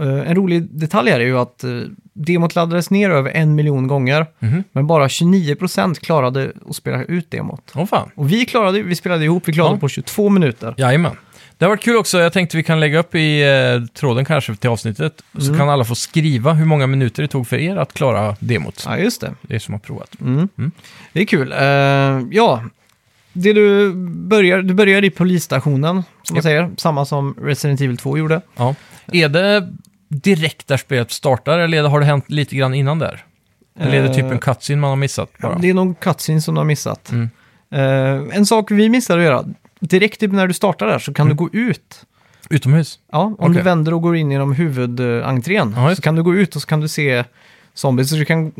Eh, en rolig detalj här är ju att uh, demot laddades ner över en miljon gånger,
Mhm.
men bara 29% klarade att spela ut demot.
Åh fan.
Och vi klarade vi spelade ihop, vi klarade
Ja.
på 22 minuter.
Jajamän. Det har varit kul också, jag tänkte vi kan lägga upp i eh, tråden kanske till avsnittet. Så kan alla få skriva hur många minuter det tog för er att klara demot.
Ja, just det.
Det är som har provat.
Mm.
Mm.
Det är kul. Eh, ja, det du börjar, du börjar i polisstationen, som man
Japp.
säger. Samma som Resident Evil 2 gjorde.
Ja. Är det direkt där spelet startar eller är det- har det hänt lite grann innan där? Eller är det typ en
Eh,
cutscene man har missat bara?
Det är någon cutscene som du har missat.
Mm.
Eh, en sak vi missade att göra, direkt typ när du startar där så kan
Mm.
du gå ut.
Utomhus?
Ja, om du
Okej.
vänder och går in genom huvudentrén
Ja, just
så
det.
kan du gå ut och så kan du se zombies. Så du kan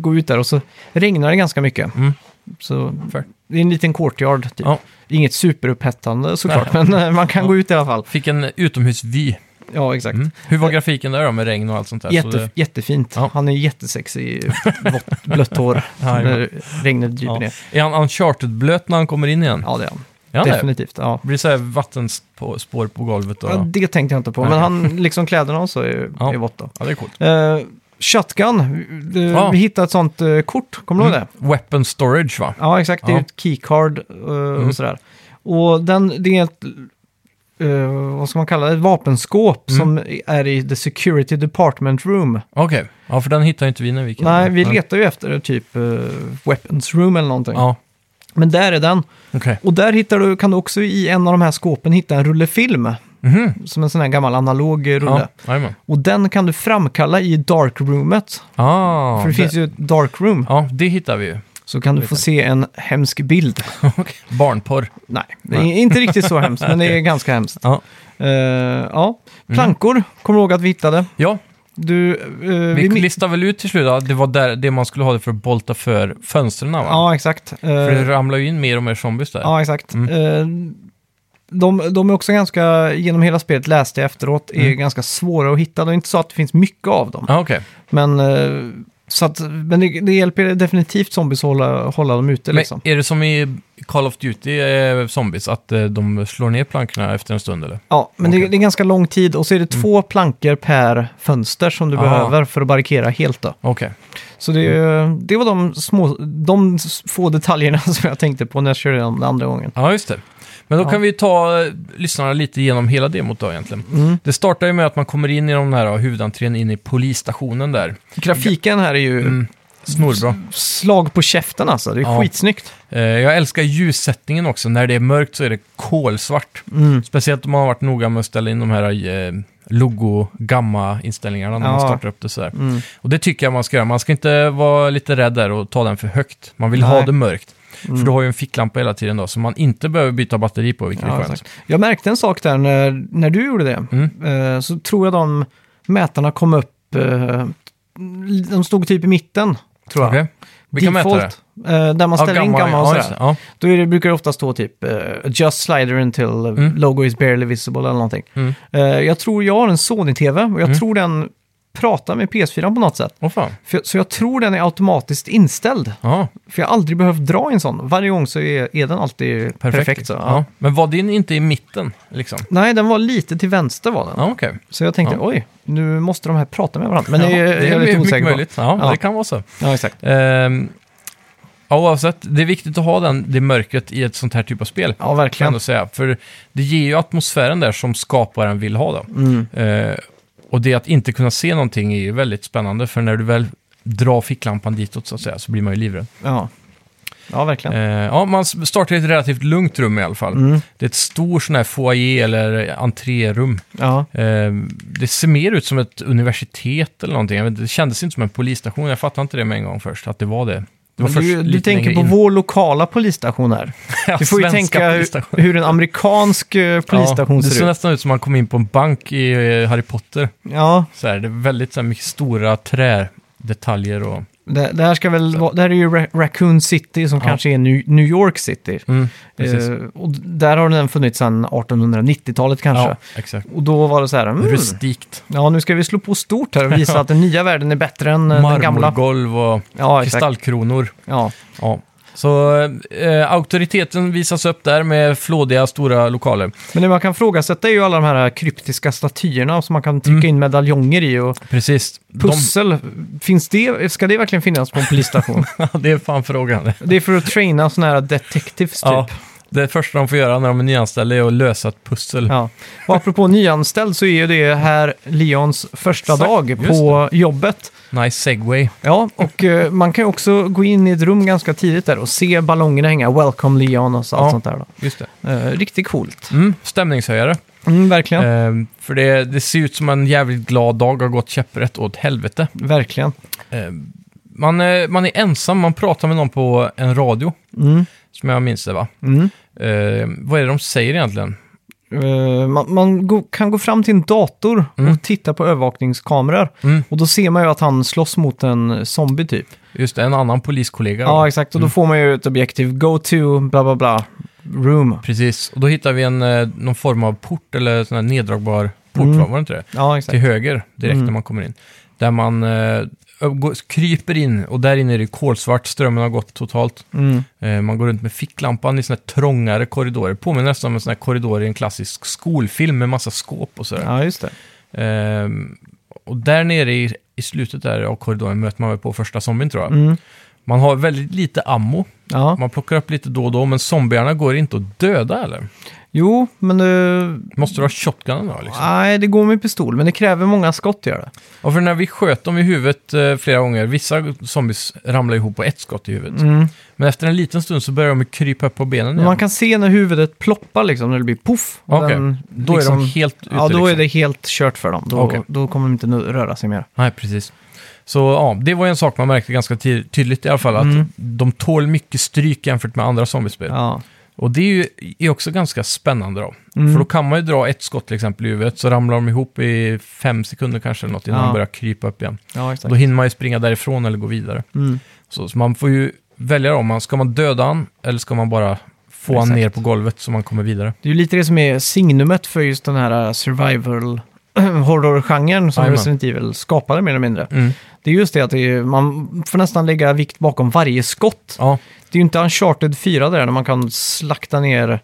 gå ut där och så regnar det ganska mycket.
Mm.
Så
Fair.
det är en liten courtyard typ.
Ja.
Inget superupphettande såklart, men eh, man kan gå ut i alla fall.
Fick en utomhusvy.
Ja, exakt.
Mm. Hur
Eh.
var grafiken där då med regn och allt sånt där?
Jätte,
Så det,
Jättefint.
Ja.
Han är jättesexig, blått, blått hår.
Ja,
när regnet dryper
ja.
ner.
Är han uncharted-blöt när han kommer in igen?
Ja, det är han.
Ja, det
Definitivt. Ja.
blir så här vattenspår på golvet. Och...
Ja, det tänkte jag inte på, men han, liksom kläderna och så är,
Ja.
är vått då.
Ja, det är coolt.
Eh, shotgun, vi,
Ja.
vi hittade ett sånt eh, kort, kommer du ihåg det?
Weapon storage va?
Ja, exakt. Det är
Ja. Mm.
ju ett keycard eh, och sådär. Och den, det är ett, eh, vad ska man kalla det, ett vapenskåp som är i the security department room.
Mm. Okej, ja för den hittar ju inte vi när vi gick in.
Nej, vi
Men-
letar ju efter typ eh, weapons room eller någonting.
Ja,
Men där är den.
okej.
Och där hittar du, kan du också i en av de här skåpen hitta en rulle film. Som en sån här gammal analog eh, rulle.
Mhm. Ja, jajamän.
Och den kan du framkalla i darkroomet.
ah,
För det finns ju ett darkroom.
Ja, det hittar vi ju.
Så kan du få se en hemsk bild.
Barnporr.
Nej, det är inte riktigt så hemskt, men det är ganska hemskt.
Ja, Mm.
Eh, ja, plankor kommer du ihåg att vi hittade.
ja
Du, eh,
vi
mi-
listade väl ut till slut att det var där, det man skulle ha det för att bolta för fönstren va?
Ja, exakt. Eh,
För det ramlar ju in mer och mer zombies där. Mm.
Ja, exakt. Eh, de, de är också ganska, genom hela spelet
Mm.
läste jag efteråt, är ganska svåra att hitta. Det är inte så att det finns mycket av dem.
Ja, okej.
Men eh, Så att, men det, det hjälper definitivt zombies att hålla, hålla dem ute
Men
liksom.
är det som i Call of Duty eh, Zombies, att eh, de slår ner plankorna efter en stund eller?
Ja, men det,
Okej. Mm.
det är ganska lång tid och så är det två plankor per fönster som du
Ah.
behöver för att barrikera helt då.
Okej.
Så det,
Mm.
det var de, små, de s- få detaljerna som jag tänkte på när jag körde om den andra gången.
Ja, just det. Men då
Ja.
kan vi ta eh, lyssnarna lite genom hela demot då egentligen.
Mm.
Det startar ju med att man kommer in i den här ja, huvudentrén in i polisstationen där.
Grafiken här är ju
Mm. Snorbra.
slag på käften alltså, det är
Ja.
skitsnyggt.
Eh, Jag älskar ljussättningen också. När det är mörkt så är det kolsvart.
Mm.
Speciellt om man har varit noga med att ställa in de här eh, logo-gamma-inställningarna när man
Ja.
startar upp det sådär.
Mm.
Och det tycker jag man ska göra. Man ska inte vara lite rädd där och ta den för högt. Man vill
Nej.
ha det mörkt. För
Mm.
du har ju en ficklampa hela tiden då, som man inte behöver byta batteri på, vilket
Ja,
är skönt.
exakt. jag märkte en sak där när, när du gjorde det.
Mm.
Eh, så tror jag de mätarna kom upp, eh, de stod typ i mitten tror jag.
Okej. Vilka mätare?
Default, eh, där man
Ja,
ställer in gamma och
ja,
sådär.
just det. ja.
Då är det, brukar det ofta stå typ eh, “Adjust slider until
Mm.
logo is barely visible” eller någonting.
Mm.
Eh, jag tror jag har en Sony-TV och jag
Mm.
tror den pratar med PS4 på något sätt.
Åh fan.
För, jag- så jag tror den är automatiskt inställd.
Ja,
För jag har aldrig behövt dra i en sån. Varje gång så är, är den alltid perfekt.
perfekt.
så, ja.
Ja. Men var din inte i mitten, liksom?
Nej, den var lite till vänster var den.
Ja, okej.
Så jag tänkte,
Ja.
oj, nu måste de här prata med varandra. Men
Ja,
det är, jag är lite
mycket
osäker på.
möjligt. Ja,
Ja.
det kan vara så.
Ja, exakt.
Ehm, ja, oavsett, det är viktigt att ha den, det mörkret i ett sånt här typ av spel.
Ja,
Kan jag
verkligen.
ändå säga. För det ger ju atmosfären där som skaparen vill ha då.
Mm.
Eh, och det att inte kunna se någonting är ju väldigt spännande, för när du väl drar ficklampan ditåt så att säga, så blir man ju livrädd.
Ja. ja, verkligen.
Eh, ja, man s- startar i ett relativt lugnt rum i alla fall.
Mm.
Det är ett stort sån här foyer eller entrérum.
Ja.
Eh, det ser mer ut som ett universitet eller någonting. Jag vet, inte, det kändes inte som en polisstation, jag fattade inte det med en gång först, att det var det. Det var
Men Du, du
lite
tänker
längre
på
in.
vår lokala polisstation här.
Ja,
Du får ju
svenska
tänka
polisstation.
hur, hur en amerikansk eh, polisstation
Ja, det ser
ser ut.
nästan ut som man kom in på en bank i eh, Harry Potter.
Ja,
Så här, det är väldigt så här, mycket stora trädetaljer och...
det, det här ska väl vara, det här är ju Ra- Raccoon City som
Ja. Mm,
kanske är New, New York City.
precis.
Eh, och d- där har den funnits sedan 1890-talet kanske.
Ja, exakt.
Och då var det så här, mm,
Rustikt.
ja nu ska vi slå på stort här och visa att den nya världen är bättre än eh, den gamla.
Marmorgolv och
Ja, exakt.
kristallkronor.
Ja.
Ja. Så eh, auktoriteten visas upp där med flådiga stora lokaler.
Men det man kan frågasätta är ju alla de här kryptiska statyerna som man kan trycka
Mm.
in medaljonger i och
Precis.
pussel. Finns det, ska det verkligen finnas på en polisstation?
De, det är fan frågan.
det är för att traina sådana här detectives typ.
Ja, det första de får göra när de är nyanställda är att lösa ett pussel.
Ja. Och apropå nyanställd så är ju det här Leons första
Exakt,
dag
just
på jobbet.
Nice segway.
Ja, och eh, man kan ju också gå in i ett rum ganska tidigt där och se ballongerna hänga. Welcome Leon och så, allt
Ja.
sånt där. Då.
Just det.
Eh, riktigt coolt.
Mm, stämningshöjare.
Mm, verkligen.
Ehm, för det, det ser ut som en jävligt glad dag har gått käpprätt åt helvete.
Verkligen.
Ehm, man, eh, man är ensam, man pratar med någon på en radio,
Mm.
som jag minns det va?
Mm.
Ehm, vad är det de säger egentligen?
Eh, man man go- kan gå fram till en dator
Mm.
och titta på övervakningskameror.
Mm.
Och då ser man ju att han slåss mot en zombie typ.
Just det, en annan poliskollega.
Ja,
va?
exakt. Och då får man ju ett objektiv. Go to bla bla bla room.
Precis, och då hittar vi en, eh, någon form av port eller sån här neddragbar port,
Mm.
va? var det inte det?
Ja, exakt.
Till höger, direkt
Mm.
när man kommer in. Där man eh, går- kryper in och där inne är det kolsvart, strömmen har gått totalt.
Mm.
Eh, Man går runt med ficklampan i såna här trångare korridorer. Påminner nästan om en sån här korridor i en klassisk skolfilm med massa skåp och sådär.
Ja, just det.
Ehm, och där nere i, i slutet där av korridoren möter man väl på första zombien tror jag.
Mm.
Man har väldigt lite ammo.
Ja.
Man plockar upp lite då och då, men zombierna går inte att döda eller?
Jo, men eh,
Måste du ha shotgunen då liksom?
nej, det går med pistol, men det kräver många skott gör det.
Och för när vi sköt dem i huvudet eh, flera gånger, vissa zombies ramlar ihop på ett skott i huvudet.
Mm.
Men efter en liten stund så börjar de ju krypa upp på benen
Men
igen.
man kan se när huvudet ploppar liksom, när det blir poff. och
Okej.
den
Då
liksom-
är de helt ute
Ja, då
liksom.
är det helt kört för dem. Då,
Okej.
då kommer de inte nu röra sig mer.
Nej, precis. Så ja, det var ju en sak man märkte ganska ty- tydligt i alla fall, att
Mm.
de tål mycket stryk jämfört med andra zombiespel.
Ja.
Och det är ju är också ganska spännande då.
Mm.
För då kan man ju dra ett skott till exempel i huvudet, så ramlar de ihop i fem sekunder kanske eller något innan
Ja.
de börjar krypa upp igen.
ja, exakt.
Då hinner man ju springa därifrån eller gå vidare.
Mm.
Så, så man får ju välja om man ska man döda han eller ska man bara få han
Exakt.
ner på golvet så man kommer vidare.
Det är ju lite det som är signumet för just den här äh, survival horrorgenren som
Jajamän.
Resident Evil skapade mer eller mindre.
Mm.
Det är just det att det är, man får nästan lägga vikt bakom varje skott.
Ja,
Det är ju inte Uncharted 4 där, när man kan slakta ner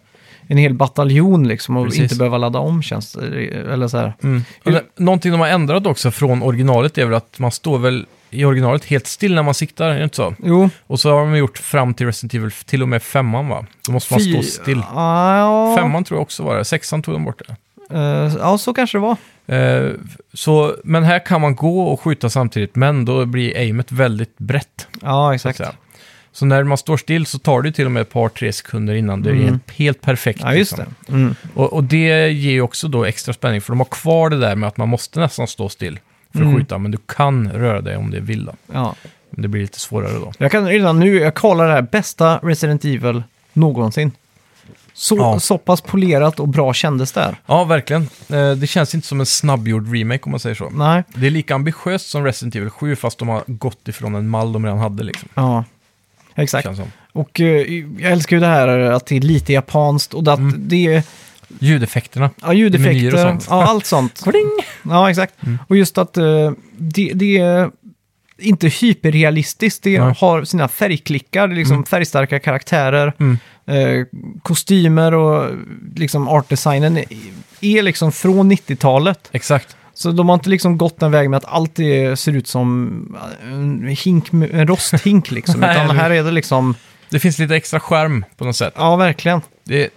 en hel bataljon liksom och
Precis.
inte behöva ladda om känns det. Eller så här.
mm. Och det- Någonting de har ändrat också från originalet är väl att man står väl i originalet helt still när man siktar, är det inte så?
Jo,
Och så har de gjort fram till Resident Evil, till och med femman va? Då måste man stå still.
Ah, ja.
Femman tror jag också var det, sexan tog de bort det.
Eh, ja, så kanske det var.
Eh, så, men här kan man gå och skjuta samtidigt, men då blir aimet väldigt brett.
Ja,
Så, att
exakt.
säga. så när man står still så tar det ju till och med ett par, tre sekunder innan det är
Mm.
helt, helt perfekt.
Ja, just det.
liksom.
Mm.
Och, och det ger ju också då extra spänning, för de har kvar det där med att man måste nästan stå still för att
Mm.
skjuta, men du kan röra dig om du vill. Då.
Ja.
Men det blir lite svårare då.
Jag kan redan nu, jag kallar det här bästa Resident Evil någonsin. Så,
Ja.
så pass polerat och bra kändes det här.
Ja, verkligen. Eh, det känns inte som en snabbgjord remake om man säger så.
Nej.
Det är lika ambitiöst som Resident Evil 7, fast de har gått ifrån en mall de redan hade. Liksom.
Ja. Exakt.
Känns som.
Och eh, jag älskar ju det här eh, att det är lite japanskt och att
Mm.
det är
Ljudeffekterna.
ja,
Menyer och
ljudeffekter.
sånt. Mm.
Ja, allt sånt. Ja, exakt. Och just att eh, det, det är inte hyperrealistiskt. Det
Nej.
har sina färgklickar, det är liksom färgstarka karaktärer.
Mm.
Eh, kostymer och liksom artdesignen är, är liksom från 90-talet.
Exakt.
Så de har inte liksom gått den vägen med att allt är, ser ut som en, hink, med- en rosthink liksom.
Nej,
Utan
eller-
här är det liksom,
Det finns lite extra skärm på något sätt.
ja verkligen.
Det är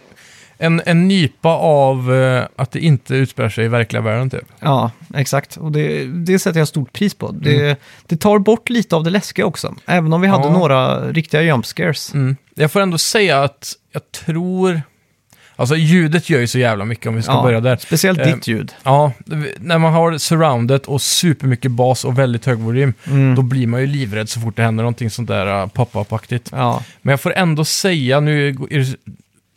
en, en nypa av eh, att det inte utspelar sig i verkliga världen typ.
Ja, exakt. Och det, det sätter jag stort pris på. Det, det tar bort lite av det läskiga också. Även om vi hade
Mm. Ja.
några riktiga jump scares.
Mm. Jag får ändå säga att jag tror... Alltså ljudet gör ju så jävla mycket om vi ska
Ja.
börja där.
Speciellt
Eh,
ditt ljud.
Ja, när man har surroundet och supermycket bas och väldigt hög volym,
Mm.
då blir man ju livrädd så fort det händer någonting sånt där uh, pop-up-aktigt.
Ja,
Men jag får ändå säga, nu är det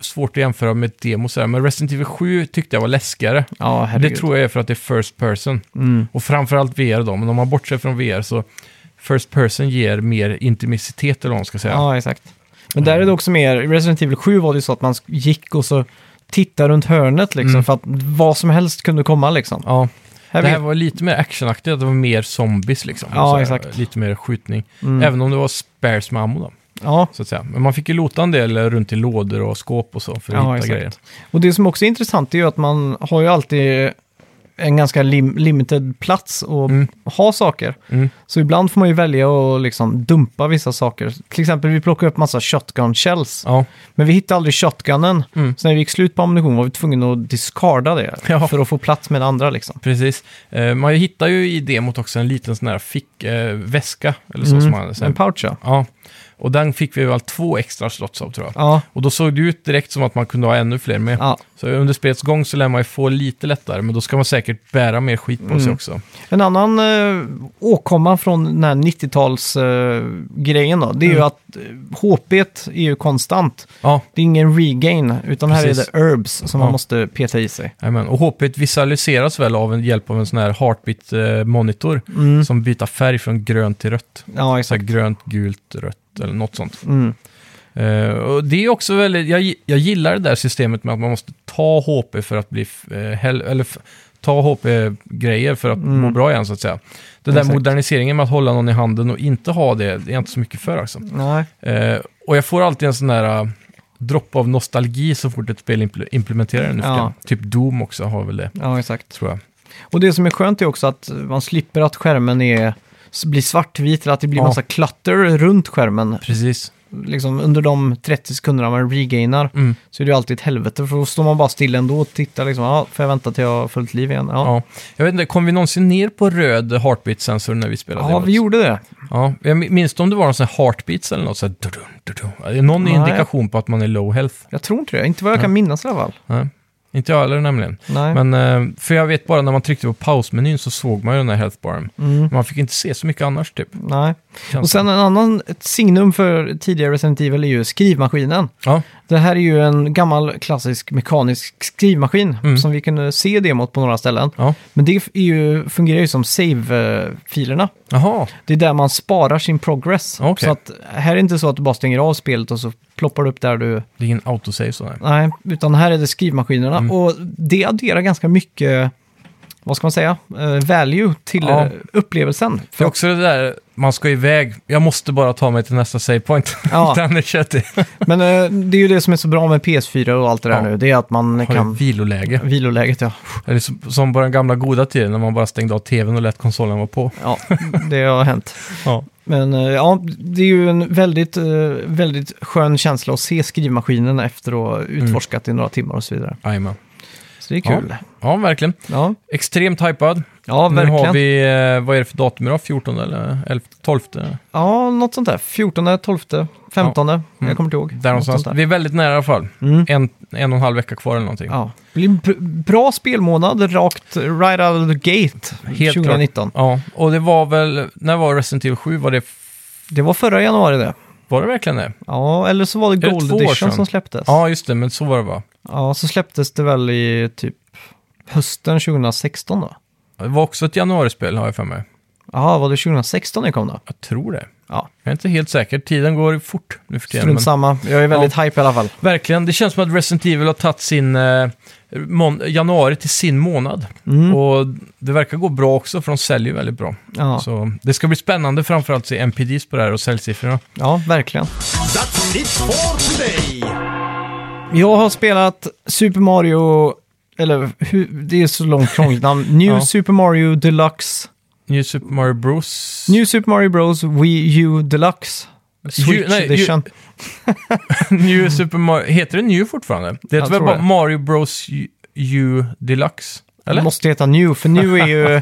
svårt att jämföra med demos här, men Resident Evil 7 tyckte jag var läskigare.
ja herregud.
Det tror jag är för att det är first person.
Mm.
Och framförallt VR då, men om man bortser från VR så first person ger mer intimitet eller vad man ska säga.
Ja, exakt. Men där är det
Mm.
också mer, i Resident Evil 7 var det ju så att man gick och så tittade runt hörnet liksom.
Mm.
För att vad som helst kunde komma liksom.
Ja,
Här
det här
vet-
var lite mer actionaktigt, det var mer zombies liksom.
Ja,
Så här,
exakt.
Lite mer skjutning.
Mm.
Även om det var spares med ammo då,
ja.
så att säga. Men man fick ju lota en del eh, runt i lådor och skåp och så för att
Ja,
hitta
exakt.
grejer.
Och det som också är intressant är ju att man har ju alltid en ganska lim limited plats att
Mm.
ha saker.
Mm.
Så ibland får man ju välja att liksom dumpa vissa saker. Till exempel vi plockade upp massa shotgun shells.
Ja,
Men vi hittade aldrig shotgunnen.
Mm.
Så när vi gick slut på ammunition var vi tvungna att discarda det.
Ja.
För att få plats med det andra liksom.
precis. Eh, man hittar ju i demot också en liten sån här fick, eh, väska eller så som man hade. så här-
Mm. En pouch ja.
Ja, och den fick vi väl två extra slots av tror jag.
Ja,
Och då såg det ut direkt som att man kunde ha ännu fler med.
ja.
Så under spelets gång så lär man ju få lite lättare, men då ska man säkert bära mer skit på sig
Mm.
också.
En annan eh, åkomma från den här 90-talsgrejen då, det är ju
Mm.
att eh, HP är ju konstant.
Ja,
Det är ingen regain, utan här
Precis.
är det herbs som
Ja.
man måste peta i sig.
amen. och HP visualiseras väl av en hjälp av en sån här heartbeat-monitor
Mm.
som byter färg från grönt till rött.
Ja,
Så här
exakt.
grönt, gult, rött eller något sånt.
Mm.
Eh, och det är också väldigt, jag, gi- jag gillar det där systemet med att man måste ta HP för att bli, f- eh, hell, eller f- ta HP-grejer för att må bra igen så att säga. Den där
Mm. Exakt.
moderniseringen med att hålla någon i handen och inte ha det, det är jag inte så mycket för alltså.
Nej.
Eh, och jag får alltid en sån där eh, dropp av nostalgi så fort ett spel impl- implementerar det nu för
Ja.
tiden. Typ Doom också har väl det,
Ja, exakt.
tror jag.
Och det som är skönt är också att man slipper att skärmen är, s- blir svartvit eller att det blir
Ja.
massa klatter runt skärmen.
Precis.
Liksom under de 30 sekunderna man regainar
Mm.
så är det ju alltid ett helvete. För då står man bara still ändå och tittar liksom, ja, får jag vänta till jag har fullt liv igen? Ja,
Ja. Jag vet inte, kom vi någonsin ner på röd heartbeat-sensor när vi spelade?
ja,
det?
vi gjorde det.
Ja, jag min- minns inte om det var någon sån här heartbeats eller något sånt. Någon
Nej.
indikation på att man är low health.
Jag tror inte det, inte vad jag kan minnas i alla fall.
Nej. Inte jag heller nämligen.
Nej.
Men, eh, för jag vet bara när man tryckte på pausmenyn så såg man ju den här healthbaren. Man fick inte se så mycket annars typ.
Nej.
Känns
Och Mm. sen en annan, ett signum för tidigare Resident Evil är ju skrivmaskinen.
Ja,
Det här är ju en gammal klassisk mekanisk skrivmaskin
Mm.
som vi kunde se i demot på några ställen.
ja.
Men det är ju, fungerar ju som save-filerna.
Jaha,
Det är där man sparar sin progress.
Okej.
Så att här är det inte så att du bara stänger av spelet och så ploppar du upp där du...
det är ingen autosave sådär. Mm.
Nej, utan här är det skrivmaskinerna. Och det adderar ganska mycket vad ska man säga, eh, value till
Ja.
eh, upplevelsen.
Det är också det där, man ska iväg, jag måste bara ta mig till nästa save point.
Ja.
Den är tjötig.
Men eh, det är ju det som är så bra med PS4 och allt det där
Ja.
nu, det är att man
Har ju
kan...
viloläge.
Viloläget, ja.
Eller som- som på den gamla goda tiden när man bara stängde av tvn och lät konsolen vara på.
ja. Det har hänt.
Ja.
Men eh, ja, det är ju en väldigt, eh, väldigt skön känsla att se skrivmaskinen efter att ha utforskat i några timmar och så vidare.
Jajamän.
Så det är kul.
Mm. Ja, verkligen.
Ja,
Extremt hypad.
ja
Nu
verkligen.
har vi, eh, vad är det för datum idag? 14 eller 11, 12?
Ja, något sånt där. 14, 12, 15.
Mm.
Jag kommer inte ihåg.
Där
Något
någonstans.
sånt där.
Vi är väldigt nära i alla fall.
Mm.
En, en och en halv vecka kvar eller någonting.
Ja. Blir en br- bra spelmånad rakt right out of the gate
Helt
2019.
Ja, och det var väl, när var Resident Evil 7? Var det,
Det var förra januari det.
var det verkligen det?
Ja, eller så var det
det
Gold
två år
Edition
sedan?
som släpptes.
Ja, just det, men så var det va?
Ja, så släpptes det väl i typ hösten 2016 då?
Det var också ett januarispel har jag för mig.
Ja, var det 2016 det kom då?
Jag tror det.
Ja,
Jag är inte helt säker. Tiden går fort nu för tiden.
strunt
Men
samma. Jag är väldigt hype i alla fall.
verkligen, det känns som att Resident Evil har tagit sin eh, mån- januari till sin månad.
Mm.
Och det verkar gå bra också, för de säljer ju väldigt bra.
Ja.
Så det ska bli spännande framförallt att se NPDs på det här och säljsiffrorna.
ja, verkligen.
That's it for today.
Jag har spelat Super Mario, eller hur, det är så långt krångligt namn, New
Ja.
Super Mario Deluxe,
New Super Mario Bros.
New Super Mario Bros Wii U Deluxe, Switch
Ju- nej, ju-
Edition.
New Super Mario... Heter det New fortfarande? Det heter
Jag
väl
tror
bara
det.
Mario Bros U, U Deluxe?
Det
Eller?
måste heta New, för New är ju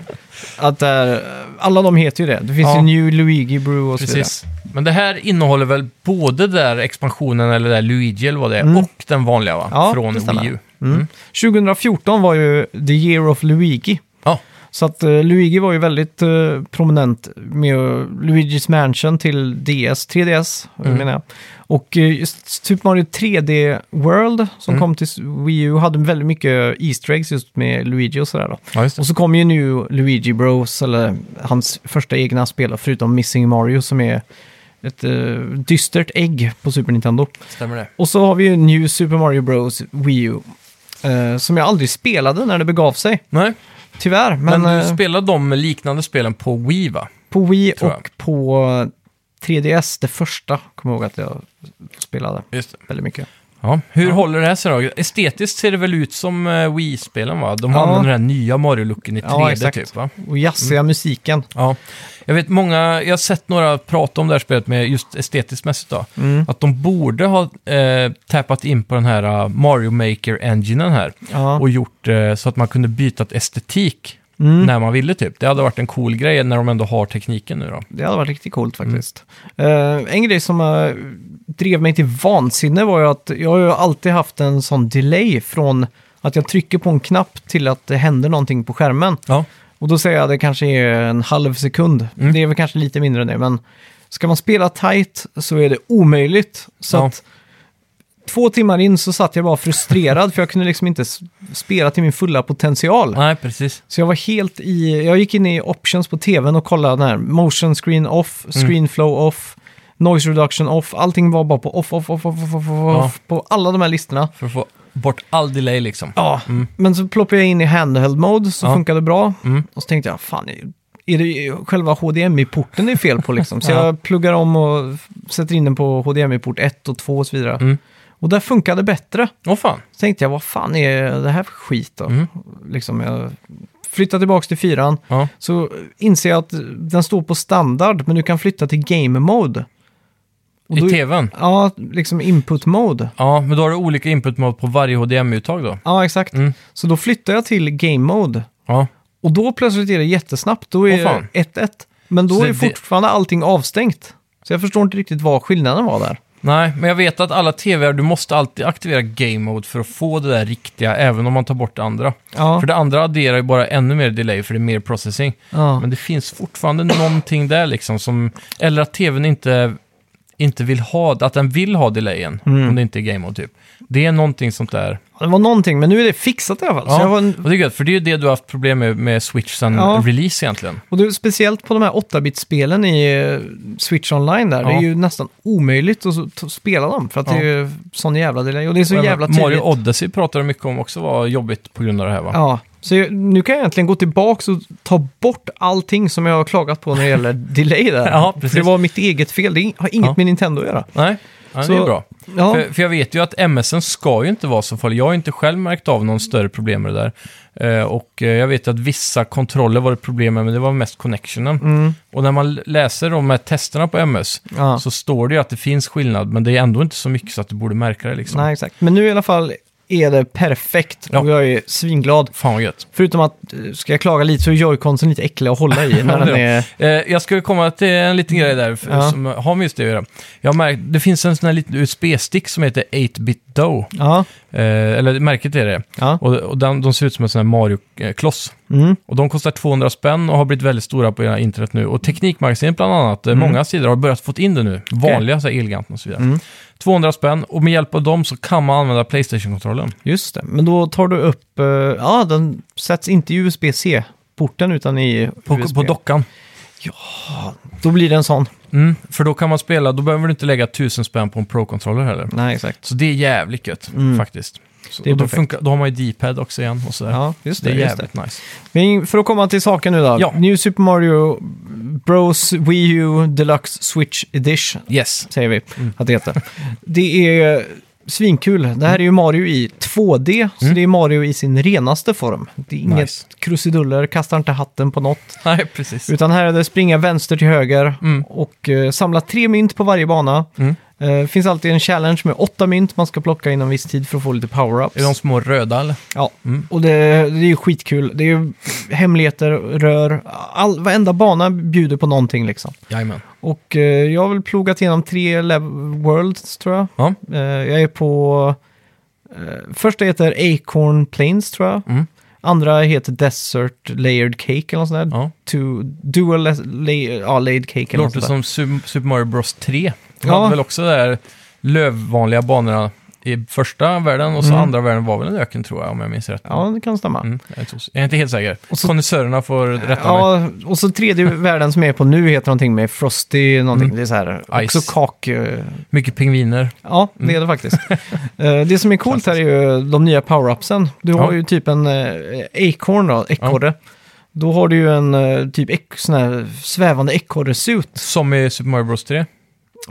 att det är, alla de heter ju det. Det finns
Ja.
ju New, Luigi, Brew och så vidare.
Precis. Men det här innehåller väl både där expansionen, eller där Luigi eller vad det är,
Mm.
och den vanliga va?
Ja,
Från
det stämmer.
Wii U.
2014 Mm. var ju the year of Luigi.
Ja.
Så att eh, Luigi var ju väldigt eh, prominent med eh, Luigi's Mansion till DS, 3DS
Mm.
menar jag. Och eh, just Super Mario 3D World som
Mm.
kom till s- Wii U hade väldigt mycket Easter eggs just med Luigi och sådär då.
Ja, just det.
Och så kom ju nu Luigi Bros, eller hans första egna spel förutom Missing Mario som är ett eh, dystert ägg på Super Nintendo.
Stämmer det.
Och så har vi ju New Super Mario Bros Wii U. eh, som jag aldrig spelade när det begav sig,
Nej,
tyvärr. Men,
men, du
eh,
spelade de liknande spelen på Wii va?
på Wii
tror jag.
och på 3DS, det första, kommer jag ihåg att jag spelade
Just det.
väldigt mycket.
Ja. Hur håller det här sig då? Estetiskt ser det väl ut som eh, Wii-spelen va? De
Ja.
använder den här nya Mario-looken i
Ja,
3D
exakt.
typ va?
Och jazziga musiken.
Ja, jag vet många, jag har sett några prata om det här spelet med just estetiskt mässigt då.
Mm.
Att de borde ha eh, tappat in på den här eh, Mario Maker-enginen här.
Ja.
Och gjort eh, så att man kunde byta ett estetik
Mm.
när man ville typ. Det hade varit en cool grej när de ändå har tekniken nu då.
Det hade varit riktigt coolt
Mm.
faktiskt. Eh, en grej som eh, drev mig till vansinne var ju att jag har ju alltid haft en sån delay från att jag trycker på en knapp till att det händer någonting på skärmen.
Ja,
Och då säger jag att det kanske är en halv sekund.
Mm.
Det är väl kanske lite mindre än det, men ska man spela tight så är det omöjligt. Så
Ja.
att två timmar in så satt jag bara frustrerad för jag kunde liksom inte s- spela till min fulla potential.
nej precis.
Så jag var helt i, jag gick in i options på tvn och kollade den här motion screen off,
Mm.
screen flow off, noise reduction off, allting var bara på off, off, off, off, off, off, off på alla de här listorna.
För att få bort all delay liksom.
Ja, men så ploppade jag in i handheld mode så
Ja.
funkade det bra.
Mm.
Och så tänkte jag, fan, är det själva HDMI-porten det är fel på liksom? Så
Ja.
jag pluggar om och f- sätter in den på HDMI-port 1 och 2 och så vidare.
Mm.
Och där funkade det bättre.
Åh fan.
Så tänkte jag, vad fan är det här för skit då?
Mm.
Liksom, jag flyttar tillbaka till fyran.
Ja.
Så inser jag att den står på standard, men du kan flytta till game mode. Och
I
då-
tvn.
Ja, liksom input mode.
Ja, men då har du olika input mode på varje HDMI-uttag då.
Ja, exakt.
Mm.
Så då flyttar jag till game mode.
Ja,
Och då plötsligt är det jättesnabbt. Då är
Åh, fan.
det 1-1. Men då
Så
är
det-
fortfarande allting avstängt. Så jag förstår inte riktigt vad skillnaden var där.
Nej, men jag vet att alla tvr, du måste alltid aktivera game mode för att få det där riktiga, även om man tar bort det andra.
Ja,
För det andra adderar ju bara ännu mer delay, för det är mer processing.
ja.
Men det finns fortfarande någonting där liksom, som, eller att tvn inte, inte vill ha, att den vill ha delayen, om det inte är game mode typ. Det är någonting sånt där.
det var någonting. Men nu är det fixat i alla fall. Så
Ja,
jag var en
och det är gött, för det är ju det du har haft problem med, med Switch sen
Ja.
release egentligen.
Och det, är speciellt på de här 8-bit-spelen i eh, Switch Online där, det
Ja.
är ju nästan omöjligt att så- t- spela dem för att det är ju sån jävla delay. Och det är så
Och jag
jävla
menar,
tydligt.
Mario Odyssey pratade de mycket om också var jobbigt på grund av det här va?
Ja, Så jag, nu kan jag egentligen gå tillbaka och ta bort allting som jag har klagat på när det gäller delay där.
Ja, precis.
För det var mitt eget fel, det har inget
Ja.
med Nintendo att göra.
Nej, ja, det
Så-
är bra.
Ja,
För, för jag vet ju att MSN ska ju inte vara så farlig. Jag har inte själv märkt av någon större problem med det där. Eh, och eh, jag vet att vissa kontroller var det problem med, men det var mest connectionen.
mm,
Och när man l- läser de här testerna på MS
ja.
så står det ju att det finns skillnad, men det är ändå inte så mycket så att du borde märka det liksom.
Nej, exakt. Men nu i alla fall är det perfekt och
Ja.
jag är svinglad.
Fan vad gött.
Förutom att, eh, ska jag klaga lite, så är joyconsen lite äckliga att hålla i när
Ja,
den
det
är...
Eh, jag ska ju komma till en liten grej där för,
Ja.
som har med just det att göra. Jag har märkt, det finns en sån här liten USB-stick som heter 8-bit Dough.
Ja,
Eh, eller märket är det.
ja.
Och, och den, de ser ut som en sån här Mario-kloss.
Mm,
Och de kostar 200 spänn och har blivit väldigt stora på internet nu. Och Teknikmagasinet bland annat, eh,
Mm.
många sidor har börjat få in det nu. Vanliga så här Elgiganten och så vidare.
Mm.
200 spänn och med hjälp av dem så kan man använda Playstation-kontrollen.
just det. Men då tar du upp... eh, ja, den sätts inte i USB-C-porten utan i
På,
USB.
på dockan.
Då blir det en sån.
Mm. För då kan man spela, då behöver du inte lägga 1000 spänn på en Pro-controller heller.
Nej, exakt.
Så det är jävligt gött
Mm.
faktiskt. Så,
Det är
och då,
perfekt.
funkar, då har man ju D-pad också igen och sådär.
Ja, just
det,
det.
är
just det.
jävligt nice.
Men för att komma till saken nu då.
Ja.
New Super Mario Bros Wii U Deluxe Switch Edition,
Yes.
säger vi
Mm.
att det heter. Det är svinkul. Det här är ju Mario i 2D, så
Mm.
det är Mario i sin renaste form. Det är inget
Nice.
krusiduller, kastar inte hatten på något.
Nej, precis.
Utan här är det springa vänster till höger
Mm.
och eh, samla tre mynt på varje bana.
Mm.
Eh, Det finns alltid en challenge med åtta mynt man ska plocka inom viss tid för att få lite power-ups.
Är de små röda eller?
Ja,
Mm.
och det, det är ju skitkul. Det är ju hemligheter, rör, all, varenda bana bjuder på någonting liksom.
Jajamän.
Och eh, jag har väl plogat igenom tre lev- worlds tror jag.
Ja.
Eh, jag är på... Eh, första heter Acorn Plains tror jag.
Mm.
Andra heter Desert Layered Cake eller något sånt där.
Ja.
To, dual la- lay, ja, Layered Cake
Det
eller något
låter
sånt där.
som Sum- Super Mario Bros 3. De
Ja.
hade väl också där lövvanliga banorna i första världen och så
Mm.
andra världen var väl en öken tror jag om jag minns rätt.
Ja, det kan stämma.
Mm, jag är inte- jag är inte helt säker.
Och så-
Konnässörerna får rätta mig.
Ja, och så tredje världen som jag är på nu heter någonting med Frosty någonting.
Mm.
Det är så här,
Ice.
också kak... eh,
Mycket pingviner.
Ja, det är
Mm.
det faktiskt. Eh, det som är coolt här är ju de nya power-upsen. Du har
Ja.
ju typ en eh, ekorn då, ekorre. Då har du ju en eh, typ ek- sån här svävande ekorre-suit.
Som i Super Mario Bros 3.